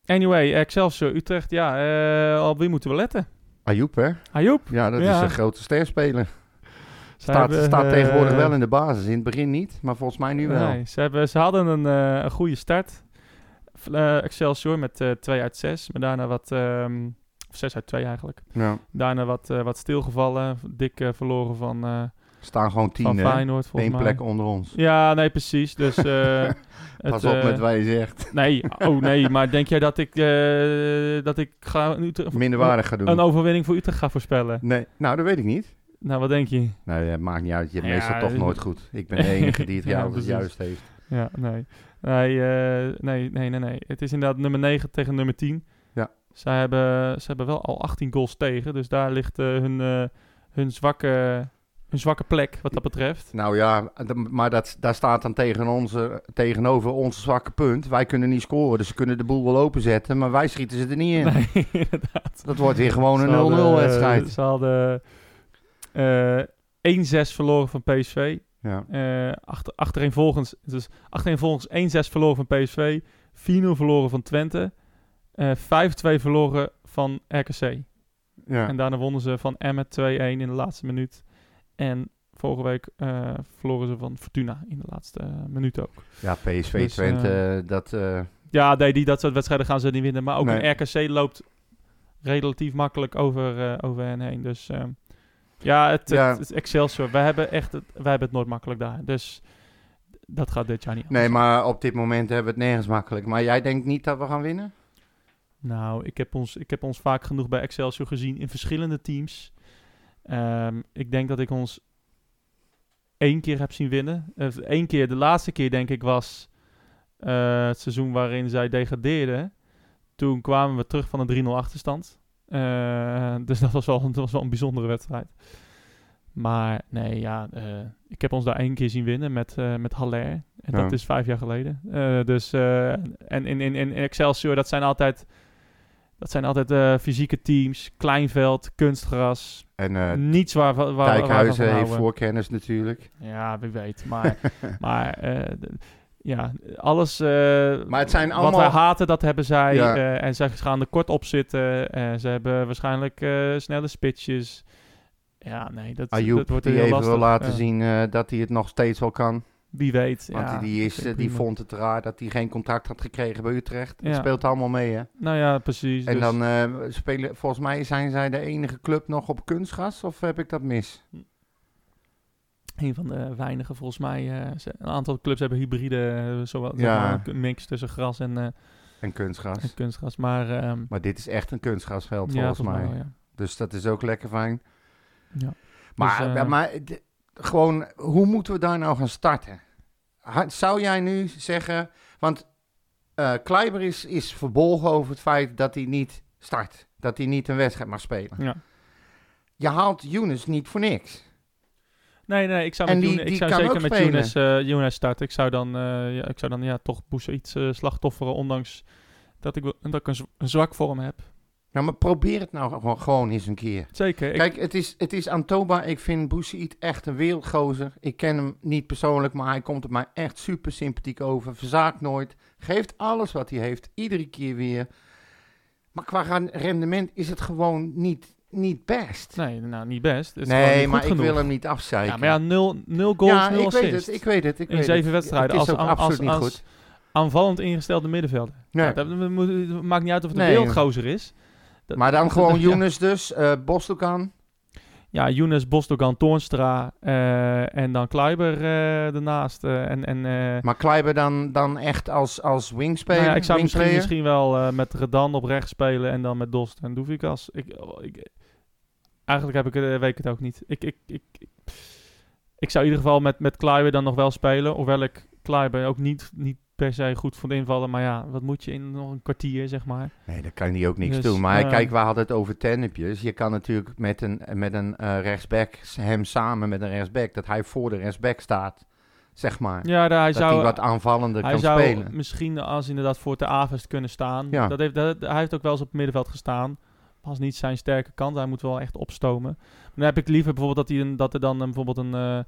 A: anyway, Excelsior, Utrecht. Ja, eh, op wie moeten we letten?
B: Ajoep, hè?
A: Ajoep.
B: Ja, dat
A: Ja.
B: is een grote sterspeler.
A: Ze
B: Staat,
A: hebben,
B: staat
A: eh,
B: tegenwoordig wel in de basis. In het begin niet, maar volgens mij nu wel.
A: Nee, ze, hebben, ze hadden een, eh, een goede start. V- eh, Excelsior met eh 2 uit 6. Maar daarna wat... ehm, of 6 uit 2 eigenlijk.
B: Ja.
A: Daarna wat, eh, wat stilgevallen. Dik eh, verloren van, eh,
B: Staan gewoon
A: van
B: tien, hè?
A: Feyenoord volgens
B: Eén
A: mij.
B: plek onder ons.
A: Ja, nee, precies. Dus eh, het,
B: Pas op
A: eh,
B: met wat je zegt.
A: Nee, oh nee, maar denk jij dat ik, eh, dat ik ga een, Utrecht-
B: Minderwaardig gaan doen.
A: een overwinning voor Utrecht ga voorspellen?
B: Nee, nou, dat weet ik niet.
A: Nou, wat denk je?
B: Nou ja, maakt niet uit. Je hebt
A: Ja,
B: meestal toch
A: eh,
B: nooit goed. Ik ben de enige die het
A: Ja,
B: jou het
A: precies.
B: juist heeft.
A: Ja, nee. Nee, eh, nee, nee, nee, nee. Het is inderdaad nummer 9 tegen nummer 10.
B: Ja.
A: Ze hebben, ze hebben wel al 18 goals tegen, dus daar ligt eh, hun, eh, hun, zwakke, hun zwakke plek wat dat betreft.
B: Nou ja, d- maar dat, daar staat dan tegen onze, tegenover ons zwakke punt. Wij kunnen niet scoren, dus ze kunnen de boel wel openzetten. Maar wij schieten ze er niet in.
A: Nee, inderdaad.
B: Dat wordt weer gewoon
A: Ze hadden, eh, dus-
B: een 0-0 wedstrijd.
A: Ze hadden eh, 1-6 verloren van PSV.
B: Ja.
A: eh achter, achtereenvolgens, dus achtereenvolgens 1-6 verloren van PSV, 4-0 verloren van Twente, eh 5-2 verloren van RKC.
B: Ja.
A: En daarna wonnen ze van Emmen 2-1 in de laatste minuut. En vorige week eh, verloren ze van Fortuna in de laatste eh, minuut ook.
B: ja, PSV
A: Dus,
B: Twente, dat... eh,
A: Ja, nee, die, dat soort wedstrijden gaan ze niet winnen. Maar ook
B: Nee.
A: een RKC loopt relatief makkelijk over, eh, over hen heen. Dus ehm, ja, het,
B: Ja.
A: het- het Excelsior. Wij hebben, echt het, wij hebben het nooit makkelijk daar. Dus dat gaat dit jaar niet
B: nee, maar op dit moment hebben we het nergens makkelijk. Maar jij denkt niet dat we gaan winnen?
A: Nou, ik heb, ons, ik heb ons vaak genoeg bij Excelsior gezien in verschillende teams. Ehm, ik denk dat ik Eh, ons één keer heb zien winnen. Eén keer, de laatste keer denk ik was eh, het seizoen waarin zij degradeerden, toen kwamen we terug van een 3-0 achterstand. Eh, dus dat was, wel, dat was wel een bijzondere wedstrijd. Maar nee, ja, eh, ik heb ons daar één keer zien winnen met, eh met Haller. En
B: Ja.
A: dat is vijf jaar geleden. Eh, dus, eh, en in, in, in Excelsior, dat zijn altijd, dat zijn altijd eh, fysieke teams. Klein veld, kunstgras.
B: En eh,
A: niets waar, waar, waar waar we van
B: Dijkhuizen heeft
A: houden.
B: voorkennis natuurlijk.
A: Ja, wie weet. Maar, maar eh, d- ja, alles eh,
B: Maar het zijn
A: wat wij
B: allemaal...
A: haten, dat hebben zij.
B: Ja.
A: eh, en zij gaan er kort op zitten. en ze hebben waarschijnlijk eh, snelle spitches. Ja, nee, dat, dat
B: Ayoub,
A: wordt
B: die
A: heel
B: even
A: lastig.
B: wil laten
A: Ja,
B: zien eh, dat hij het nog steeds wel kan.
A: Wie weet.
B: Want
A: ja,
B: die, is,
A: oké,
B: eh, die
A: prima.
B: vond het raar dat hij geen contract had gekregen bij Utrecht.
A: Ja.
B: Dat speelt allemaal mee, hè?
A: Nou ja, precies.
B: En
A: dus-
B: dan eh, spelen, volgens mij zijn zij de enige club nog op kunstgras, of heb ik dat mis?
A: een van de weinige volgens mij. eh, ze- een aantal clubs hebben hybride, eh, zowel
B: Ja.
A: zeg maar, een mix tussen gras en, eh,
B: En
A: en
B: kunstgras.
A: kunstgras. Maar ehm,
B: Maar dit is echt een kunstgrasveld,
A: ja,
B: volgens mij.
A: wel, ja.
B: Dus dat is ook lekker fijn.
A: Ja.
B: Maar,
A: Dus, eh,
B: ja, maar d- gewoon, hoe moeten we daar nou gaan starten? Ha- Zou jij nu zeggen, want eh Kleiber is, is verbolgen over het feit dat hij niet start. Dat hij niet een wedstrijd mag spelen.
A: Ja.
B: Je haalt Younes niet voor niks.
A: Nee, nee, ik zou,
B: En
A: met
B: die-
A: Younes-
B: die
A: ik zou
B: kan
A: zeker
B: ook
A: met
B: spelen.
A: Younes, eh Younes starten. Ik zou dan, eh, ja, ik zou dan ja, toch Boes iets eh, slachtofferen, ondanks dat ik, wel- dat ik een, z- een zwak voor hem heb.
B: Nou, maar probeer het nou gewoon, gewoon eens een keer.
A: Zeker. Ik,
B: Kijk, het is, het is Antoba. Ik vind Boussaïd echt een wereldgozer. Ik ken hem niet persoonlijk, maar hij komt op mij echt super sympathiek over. Verzaakt nooit. Geeft alles wat hij heeft. Iedere keer weer. Maar qua ren- rendement is het gewoon niet, niet best.
A: nee, nou, niet best. Het is gewoon
B: nee,
A: niet
B: maar
A: goed
B: ik wil
A: genoeg.
B: hem niet afzeiken.
A: Ja, maar ja, nul, nul goals,
B: Ja,
A: nul
B: ik weet het.
A: assists.
B: Ik weet het. Ik
A: in
B: weet
A: zeven
B: het.
A: wedstrijden
B: Het is
A: als,
B: ook
A: aan- als,
B: absoluut
A: als,
B: niet goed.
A: aanvallend ingestelde middenvelder.
B: Nee.
A: Ja, dat, dat moet- het maakt niet uit of het een
B: Nee.
A: wereldgozer is. dat-
B: maar dan
A: dat-
B: gewoon
A: dat- ja.
B: Younes dus. eh Bostokan.
A: Ja, Younes, Bosdogan, Toornstra eh, en dan Kluiber eh daarnaast. eh, en, en, eh,
B: Maar Kleiber dan, dan echt als, als wingspeler.
A: Nou ja, ik zou misschien,
B: wingplayer?
A: misschien wel eh, met Redan op rechts spelen en dan met Dost en Doevikas. Ik, oh, ik, eigenlijk heb ik, het- eh, weet ik het ook niet. Ik, ik, ik, ik, ik zou in ieder geval met, met Kluiber dan nog wel spelen. Hoewel ik Kluiber ook niet, niet per se goed vond invallen. Maar ja, wat moet je in nog een kwartier, zeg maar.
B: Nee, daar kan hij ook niks
A: Dus,
B: doen. Maar
A: eh,
B: kijk, we hadden het over tennepjes. Je kan natuurlijk met een, met een eh, rechtsback, hem samen met een rechtsback, dat hij voor de rechtsback staat, zeg maar.
A: Ja, daar, hij
B: dat hij
A: zou,
B: wat aanvallender
A: hij
B: kan
A: zou
B: spelen.
A: misschien als inderdaad voor de Avest kunnen staan.
B: Ja.
A: Dat heeft, dat, hij heeft ook wel eens op het middenveld gestaan. Was niet zijn sterke kant. Hij moet wel echt opstomen. Maar dan heb ik liever bijvoorbeeld dat, hij een, dat er dan een, bijvoorbeeld een... eh,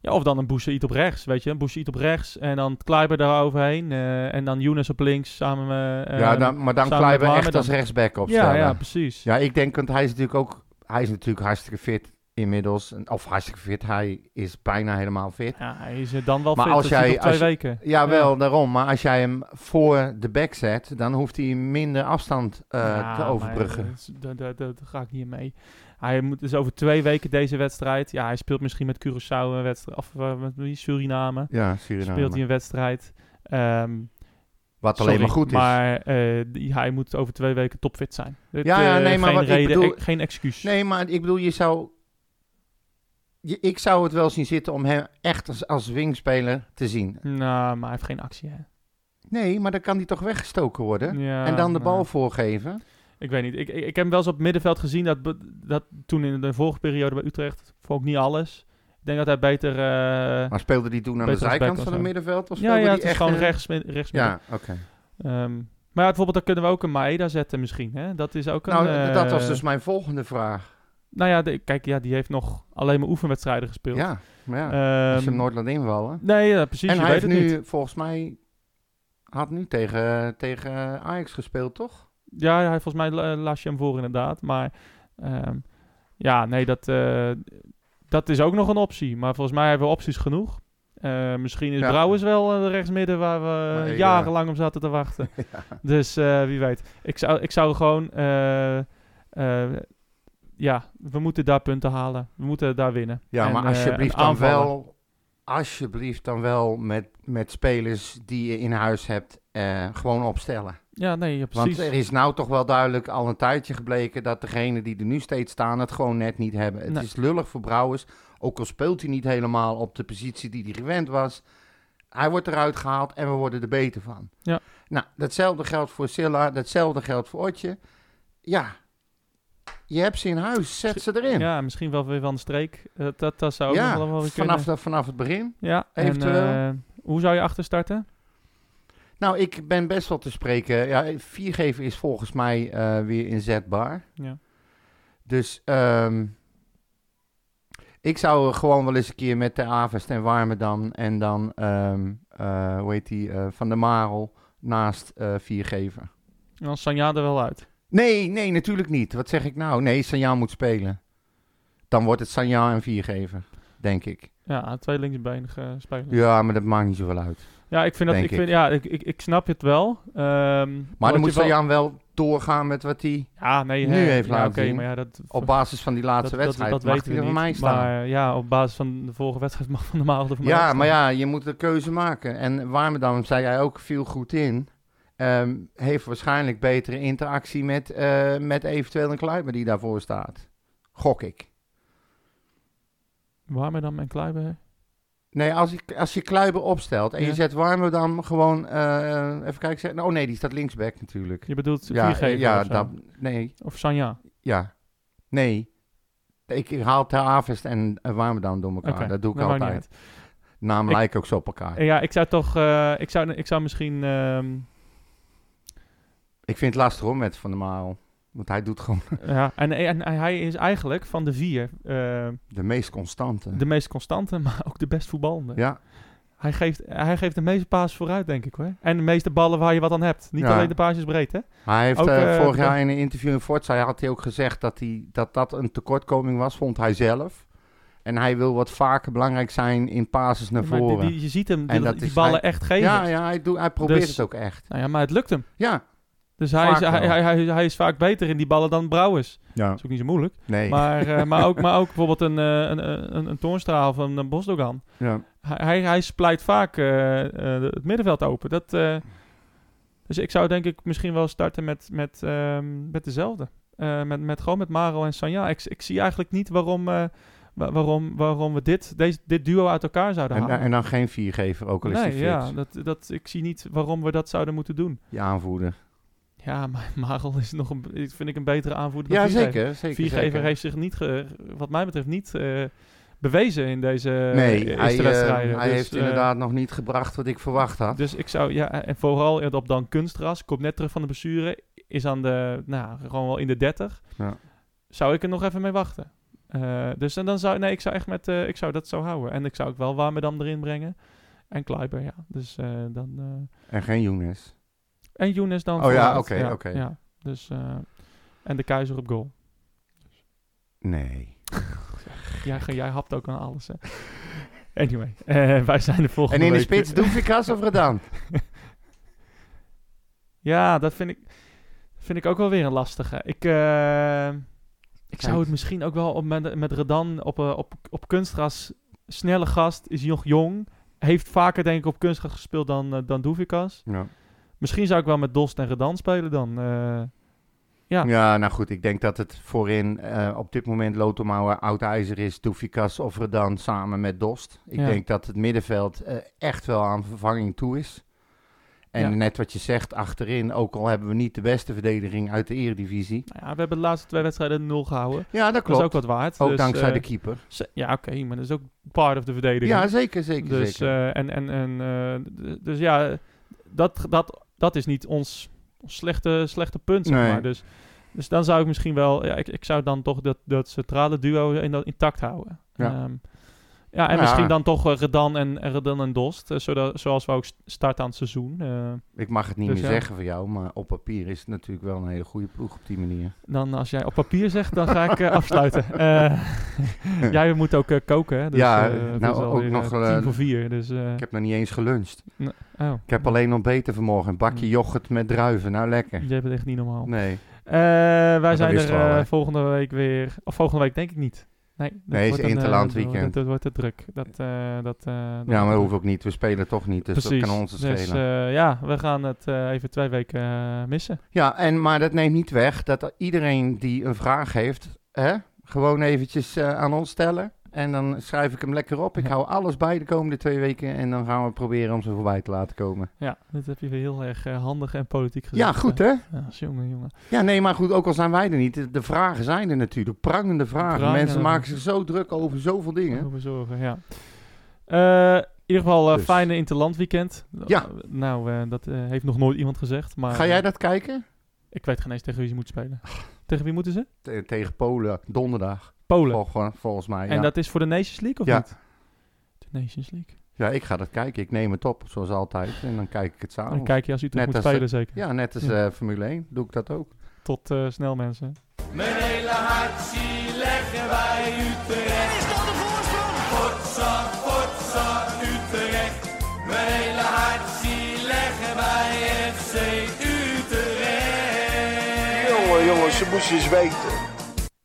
A: ja, of dan een Boussaïd op rechts, weet je. Een Boussaïd op rechts en dan Kleiber daaroverheen. eh en dan Younes op links samen... eh, eh,
B: ja, dan, maar dan
A: samen
B: Kleiber
A: met
B: echt
A: Warmer
B: als
A: dan.
B: rechtsback
A: ja,
B: opstellen.
A: ja,
B: Ja,
A: precies.
B: ik denk, want hij is natuurlijk ook, hij is natuurlijk hartstikke fit inmiddels. En- Of hartstikke fit, hij is bijna helemaal fit.
A: Ja, hij is eh, dan wel
B: Maar
A: fit.
B: als
A: dat is
B: jij-
A: nog twee
B: als je-
A: weken.
B: Jawel, daarom. Maar als jij hem voor de back zet, dan hoeft hij minder afstand eh,
A: Ja,
B: te
A: maar eh,
B: overbruggen.
A: dat is- Daar daar- daar- daar ga ik niet in mee. Hij moet dus over twee weken deze wedstrijd. Ja, hij speelt misschien met Curaçao een wedstrijd. Of eh, met wie? Suriname.
B: ja, Suriname.
A: Speelt hij een wedstrijd. Ehm,
B: Wat alleen
A: sorry,
B: maar goed is.
A: Maar eh, die- hij moet over twee weken topfit zijn. Dit,
B: Ja, ja,
A: eh,
B: nee, maar
A: geen
B: wat ik
A: reden,
B: bedoel-
A: eh, geen excuus.
B: Nee, maar ik bedoel, je zou. je- ik zou het wel zien zitten om hem echt als, als wingspeler te zien.
A: Nou, maar hij heeft geen actie, hè.
B: Nee, maar dan kan hij toch weggestoken worden?
A: Ja,
B: en dan de bal
A: nou,
B: voorgeven.
A: ik weet niet. Ik, ik, ik heb hem wel eens op het middenveld gezien. Dat, be- dat toen in de vorige periode bij Utrecht vond ik niet alles. Ik denk dat hij beter... eh,
B: Maar speelde die toen aan
A: Beter
B: de
A: als
B: zijkant
A: back
B: van
A: of
B: het
A: zo.
B: middenveld? Of
A: ja,
B: speelde
A: ja,
B: die
A: het is
B: echt
A: gewoon
B: in-
A: rechts, min- rechts midden.
B: Ja, oké.
A: Ehm, maar ja, bijvoorbeeld, dan kunnen we ook een Maeda zetten misschien. Hè? Dat is ook
B: Nou,
A: een...
B: d-
A: eh,
B: dat was dus mijn volgende vraag.
A: Nou ja, de- kijk, ja, die heeft nog alleen maar oefenwedstrijden gespeeld.
B: Ja, maar ja.
A: Ehm,
B: als je hem nooit laat invallen.
A: Nee, ja, precies.
B: en
A: je
B: hij
A: weet
B: heeft
A: het
B: nu,
A: niet.
B: volgens mij, had nu tegen, tegen Ajax gespeeld, toch?
A: Ja, hij volgens mij la- eh, las je hem voor inderdaad. Maar ehm, ja, nee, dat, eh, dat is ook nog een optie. Maar volgens mij hebben we opties genoeg. Eh, misschien is
B: Ja. eh,
A: Brouwers wel eh, de rechtsmidden waar we
B: Nee, ja.
A: jarenlang om zaten te wachten. Dus eh, wie weet. Ik zou, ik zou gewoon... eh, eh, ja, we moeten daar punten halen. We moeten daar winnen.
B: Ja,
A: En,
B: maar
A: eh,
B: alsjeblieft
A: en
B: dan
A: aanvallen.
B: wel. Alsjeblieft dan wel met, met spelers die je in huis hebt, eh, gewoon opstellen.
A: Ja, nee, ja,
B: Want
A: precies.
B: er is nou toch wel duidelijk al een tijdje gebleken dat degenen die er nu steeds staan het gewoon net niet hebben. Het
A: Nee.
B: is lullig voor Brouwers, ook al speelt hij niet helemaal op de positie die hij gewend was. Hij wordt eruit gehaald en we worden er beter van.
A: Ja.
B: Nou, datzelfde geldt voor Silla, datzelfde geldt voor Otje. Ja, je hebt ze in huis, zet ze erin.
A: Ja, misschien wel weer van de streek. Eh, dat, dat zou ook
B: Ja,
A: nog wel weer kunnen.
B: vanaf, de- vanaf het begin.
A: ja, en,
B: eventueel.
A: eh, hoe zou je achterstarten?
B: Nou, ik ben best wel te spreken. Ja, viergever is volgens mij eh, weer inzetbaar.
A: Ja.
B: Dus ehm, ik zou gewoon wel eens een keer met de Avest en Warmerdam en dan, ehm, eh, hoe heet die, eh, Van der Marel naast eh, viergever.
A: En dan Sanja er wel uit.
B: Nee, nee, natuurlijk niet. Wat zeg ik nou? Nee, Sanjaan moet spelen. Dan wordt het Sanjaan en viergever, denk ik.
A: Ja, twee linksbenige spelers. Ja,
B: Ja, maar dat maakt niet zoveel uit.
A: ik vind dat.
B: Denk
A: Ik vind, ja, ik, ik, ik snap het wel. Ehm,
B: Maar
A: wat
B: dan moet
A: je wel-
B: Sanjaan wel doorgaan met wat hij...
A: Ja, nee,
B: nu
A: hè.
B: heeft
A: ja,
B: laten
A: oké,
B: zien.
A: Maar ja, dat,
B: Op basis van die laatste wedstrijd mag hij er
A: niet,
B: van mij staan.
A: Maar ja, op basis van de vorige wedstrijd mag Van der Marel er van mij
B: ja,
A: staan.
B: maar ja, je moet een keuze maken. En Warmerdam, zei jij ook, viel goed in. Ehm, heeft waarschijnlijk betere interactie met, eh, met eventueel een Kluiber die daarvoor staat. Gok ik.
A: Warmerdam en Kluiber.
B: Nee, als, ik, als je Kluiber opstelt en
A: Ja.
B: je zet Warmerdam gewoon... eh, even kijken, zeg- oh nee, die staat linksback natuurlijk.
A: Je bedoelt
B: Ja,
A: 4G
B: eh, ja,
A: of, zo.
B: dat, nee,
A: of Sanja.
B: ja, nee. Ik haal Ter Avest en eh, Warmerdam door elkaar.
A: Oké,
B: Dat doe ik
A: maakt niet
B: altijd.
A: uit.
B: Naam
A: Ik-
B: lijken ook zo op elkaar.
A: En ja, ik zou toch... eh, ik, zou, ik zou misschien... ehm,
B: Ik vind het lastig hoor met Van der Marel. Want hij doet gewoon
A: ja, en, en, hij is eigenlijk van de vier eh,
B: de meest constante.
A: de meest constante, maar ook de best voetballende.
B: Ja,
A: Hij, geeft, hij geeft de meeste paas vooruit, denk ik hoor. En de meeste ballen waar je wat aan hebt. Niet
B: Ja.
A: alleen de paasjes breed, hè?
B: hij heeft
A: Ook,
B: eh,
A: eh,
B: vorig
A: de-
B: jaar in een interview in Forza had hij ook gezegd dat, hij, dat dat een tekortkoming was, vond hij zelf. En hij wil wat vaker belangrijk zijn in passes naar
A: Maar die-
B: voren.
A: die- je ziet hem
B: En
A: die,
B: dat
A: die
B: is
A: ballen
B: hij-
A: echt geven.
B: ja, ja hij, doet hij probeert
A: Dus-
B: het ook echt.
A: Nou ja, maar het lukt hem.
B: Ja.
A: Dus hij is,
B: Vaak
A: hij,
B: wel.
A: hij, hij, hij is vaak beter in die ballen dan Brouwers. Dat
B: ja.
A: is ook niet zo moeilijk.
B: Nee.
A: Maar, eh, maar, ook, maar ook bijvoorbeeld een, eh, een, een, een, een Toornstra of een, een Bosdogan.
B: ja.
A: Hij, hij, hij splijt vaak eh, eh, het middenveld open. Dat, eh, dus ik zou denk ik misschien wel starten met, met, ehm, met dezelfde. Eh, met, met, gewoon met Maro en Sanja. Ik, ik zie eigenlijk niet waarom, eh, wa- waarom, waarom we dit, deze, dit duo uit elkaar zouden
B: En, eh,
A: halen.
B: en dan geen viergever, ook al is hij
A: nee,
B: fit.
A: ja, dat, dat, ik zie niet waarom we dat zouden moeten doen.
B: Je aanvoerder.
A: Ja, maar Marel is nog een, ik- vind ik een betere aanvoerder dan
B: Ja,
A: Viergever.
B: zeker. zeker,
A: Viergever
B: zeker.
A: heeft zich niet, ge- wat mij betreft, niet eh, bewezen in deze eh,
B: nee,
A: eerste
B: hij, eh,
A: wedstrijden.
B: hij
A: Dus,
B: heeft
A: eh,
B: inderdaad nog niet gebracht wat ik verwacht had.
A: Dus ik zou, ja, en vooral op dan kunstras, komt net terug van de blessure, is aan de, nou, gewoon wel in de 30.
B: Ja.
A: Zou ik er nog even mee wachten. Eh, dus en dan zou, nee, ik zou echt met, eh, ik zou dat zo houden. En ik zou ook wel Warmerdam erin brengen. En Kleiber, ja. Dus eh, dan, eh,
B: En geen Younes.
A: en Younes dan.
B: Oh
A: vooruit.
B: ja, oké, oké.
A: ja. Dus, eh, en de keizer op goal.
B: Nee.
A: Jij, jij hapt ook aan alles, hè. Anyway, eh, wij zijn de volgende
B: En in de
A: week- eh,
B: spits Doefikas of Redan?
A: Ja, dat vind ik, vind ik ook wel weer een lastige. Ik, eh, ik zou
B: Kijk.
A: het misschien ook wel op, met, met Redan op, eh, op, op kunstgras... Snelle gast, is nog jong. Heeft vaker denk ik op kunstgras gespeeld dan, eh, dan Doevikas.
B: Ja.
A: Misschien zou ik wel met Dost en Redan spelen dan. eh. Ja.
B: ja, nou goed. Ik denk dat het voorin eh, op dit moment Lotomouwer, Oud-IJzer is, Doefikas of Redan samen met Dost. Ik
A: Ja.
B: denk dat het middenveld eh, echt wel aan vervanging toe is. En
A: Ja.
B: net wat je zegt, achterin, ook al hebben we niet de beste verdediging uit de eredivisie.
A: Nou ja, we hebben de laatste twee wedstrijden nul gehouden.
B: Ja, dat
A: Dat
B: klopt.
A: is ook
B: ook
A: wat waard. dus,
B: dankzij
A: eh,
B: de keeper.
A: ze- Ja, oké, maar dat is ook part of de verdediging.
B: Ja, zeker, zeker,
A: Dus,
B: zeker.
A: eh, en, en, en, eh, d- dus ja, dat, dat, dat is niet ons, ons slechte, slechte punt, zeg
B: Nee.
A: maar. Dus, dus dan zou ik misschien wel... Ja, ik, ik zou dan toch dat, dat centrale duo in, intact houden.
B: Ja.
A: Ehm, ja, en
B: Nou ja.
A: misschien dan toch eh, Redan, en, en Redan en Dost. eh, zodat, zoals we ook st- starten aan het seizoen. Eh,
B: ik mag het niet
A: dus
B: meer
A: ja.
B: zeggen voor jou, maar op papier is het natuurlijk wel een hele goede ploeg op die manier.
A: dan als jij op papier zegt, dan ga ik eh, afsluiten. Eh, jij moet ook eh, koken, hè? Dus,
B: Ja,
A: eh, het
B: nou,
A: is
B: ook
A: alweer,
B: nog,
A: eh,
B: eh,
A: tien voor vier, dus... eh,
B: Ik heb nog niet eens geluncht.
A: oh,
B: Ik heb alleen ontbeten vanmorgen. Een bakje yoghurt met druiven. Nou, lekker.
A: je hebt het echt niet normaal.
B: Nee.
A: Eh, wij zijn
B: is
A: er
B: wel,
A: eh,
B: hè?
A: volgende week weer. Of volgende week denk ik niet. Nee, dat
B: Nee, is
A: wordt een, eh,
B: Interland
A: dat wordt-
B: weekend.
A: Dat wordt te druk. Dat, eh, dat, eh, dat
B: Ja, maar
A: wordt
B: dat
A: te
B: hoeft ook niet. We spelen toch niet, dus
A: druk. Precies.
B: dat kan ons het
A: dus,
B: schelen.
A: eh, ja, we gaan het eh, even twee weken eh, missen.
B: ja, en, maar dat neemt niet weg dat iedereen die een vraag heeft, hè, gewoon eventjes eh, aan ons stellen. En dan schrijf ik hem lekker op. Ik hou alles bij de komende twee weken. En dan gaan we proberen om ze voorbij te laten komen.
A: Ja, dat heb je weer heel erg eh, handig en politiek gezegd.
B: Ja, goed hè?
A: hè? Ja, jongen, jongen.
B: Ja, nee, maar goed, ook al zijn wij er niet. de- De vragen zijn er natuurlijk. Prangende vragen.
A: Prangende
B: Mensen maken zich zo druk over zoveel dingen.
A: Over zorgen, ja. Eh, in ieder geval, eh,
B: Dus.
A: fijne interlandweekend.
B: Ja.
A: Nou, eh, dat eh, heeft nog nooit iemand gezegd. Maar,
B: Ga jij dat kijken?
A: Ik weet geen eens tegen wie ze moeten spelen. Tegen wie moeten ze?
B: Te- tegen Polen, donderdag.
A: Polen.
B: Vol- volgens mij.
A: En
B: ja.
A: dat is voor de Nations League, of
B: Ja.
A: niet? De Nations League.
B: ja, ik ga dat kijken. Ik neem het op, zoals altijd. En dan kijk ik het
A: Dan
B: samen.
A: kijk je als Utrecht
B: Oh. Net
A: moet
B: als
A: spelen,
B: het-
A: zeker.
B: Ja, net als
A: Ja.
B: eh, Formule 1 doe ik dat ook.
A: Tot eh, snel, mensen.
C: Mijn hele hart zie leggen wij Utrecht. Is dat de voorsprong? Potsa, potsa, Utrecht. Mijn hele hart zie leggen wij FC Utrecht.
D: Jongen, jongen, ze moest eens weten.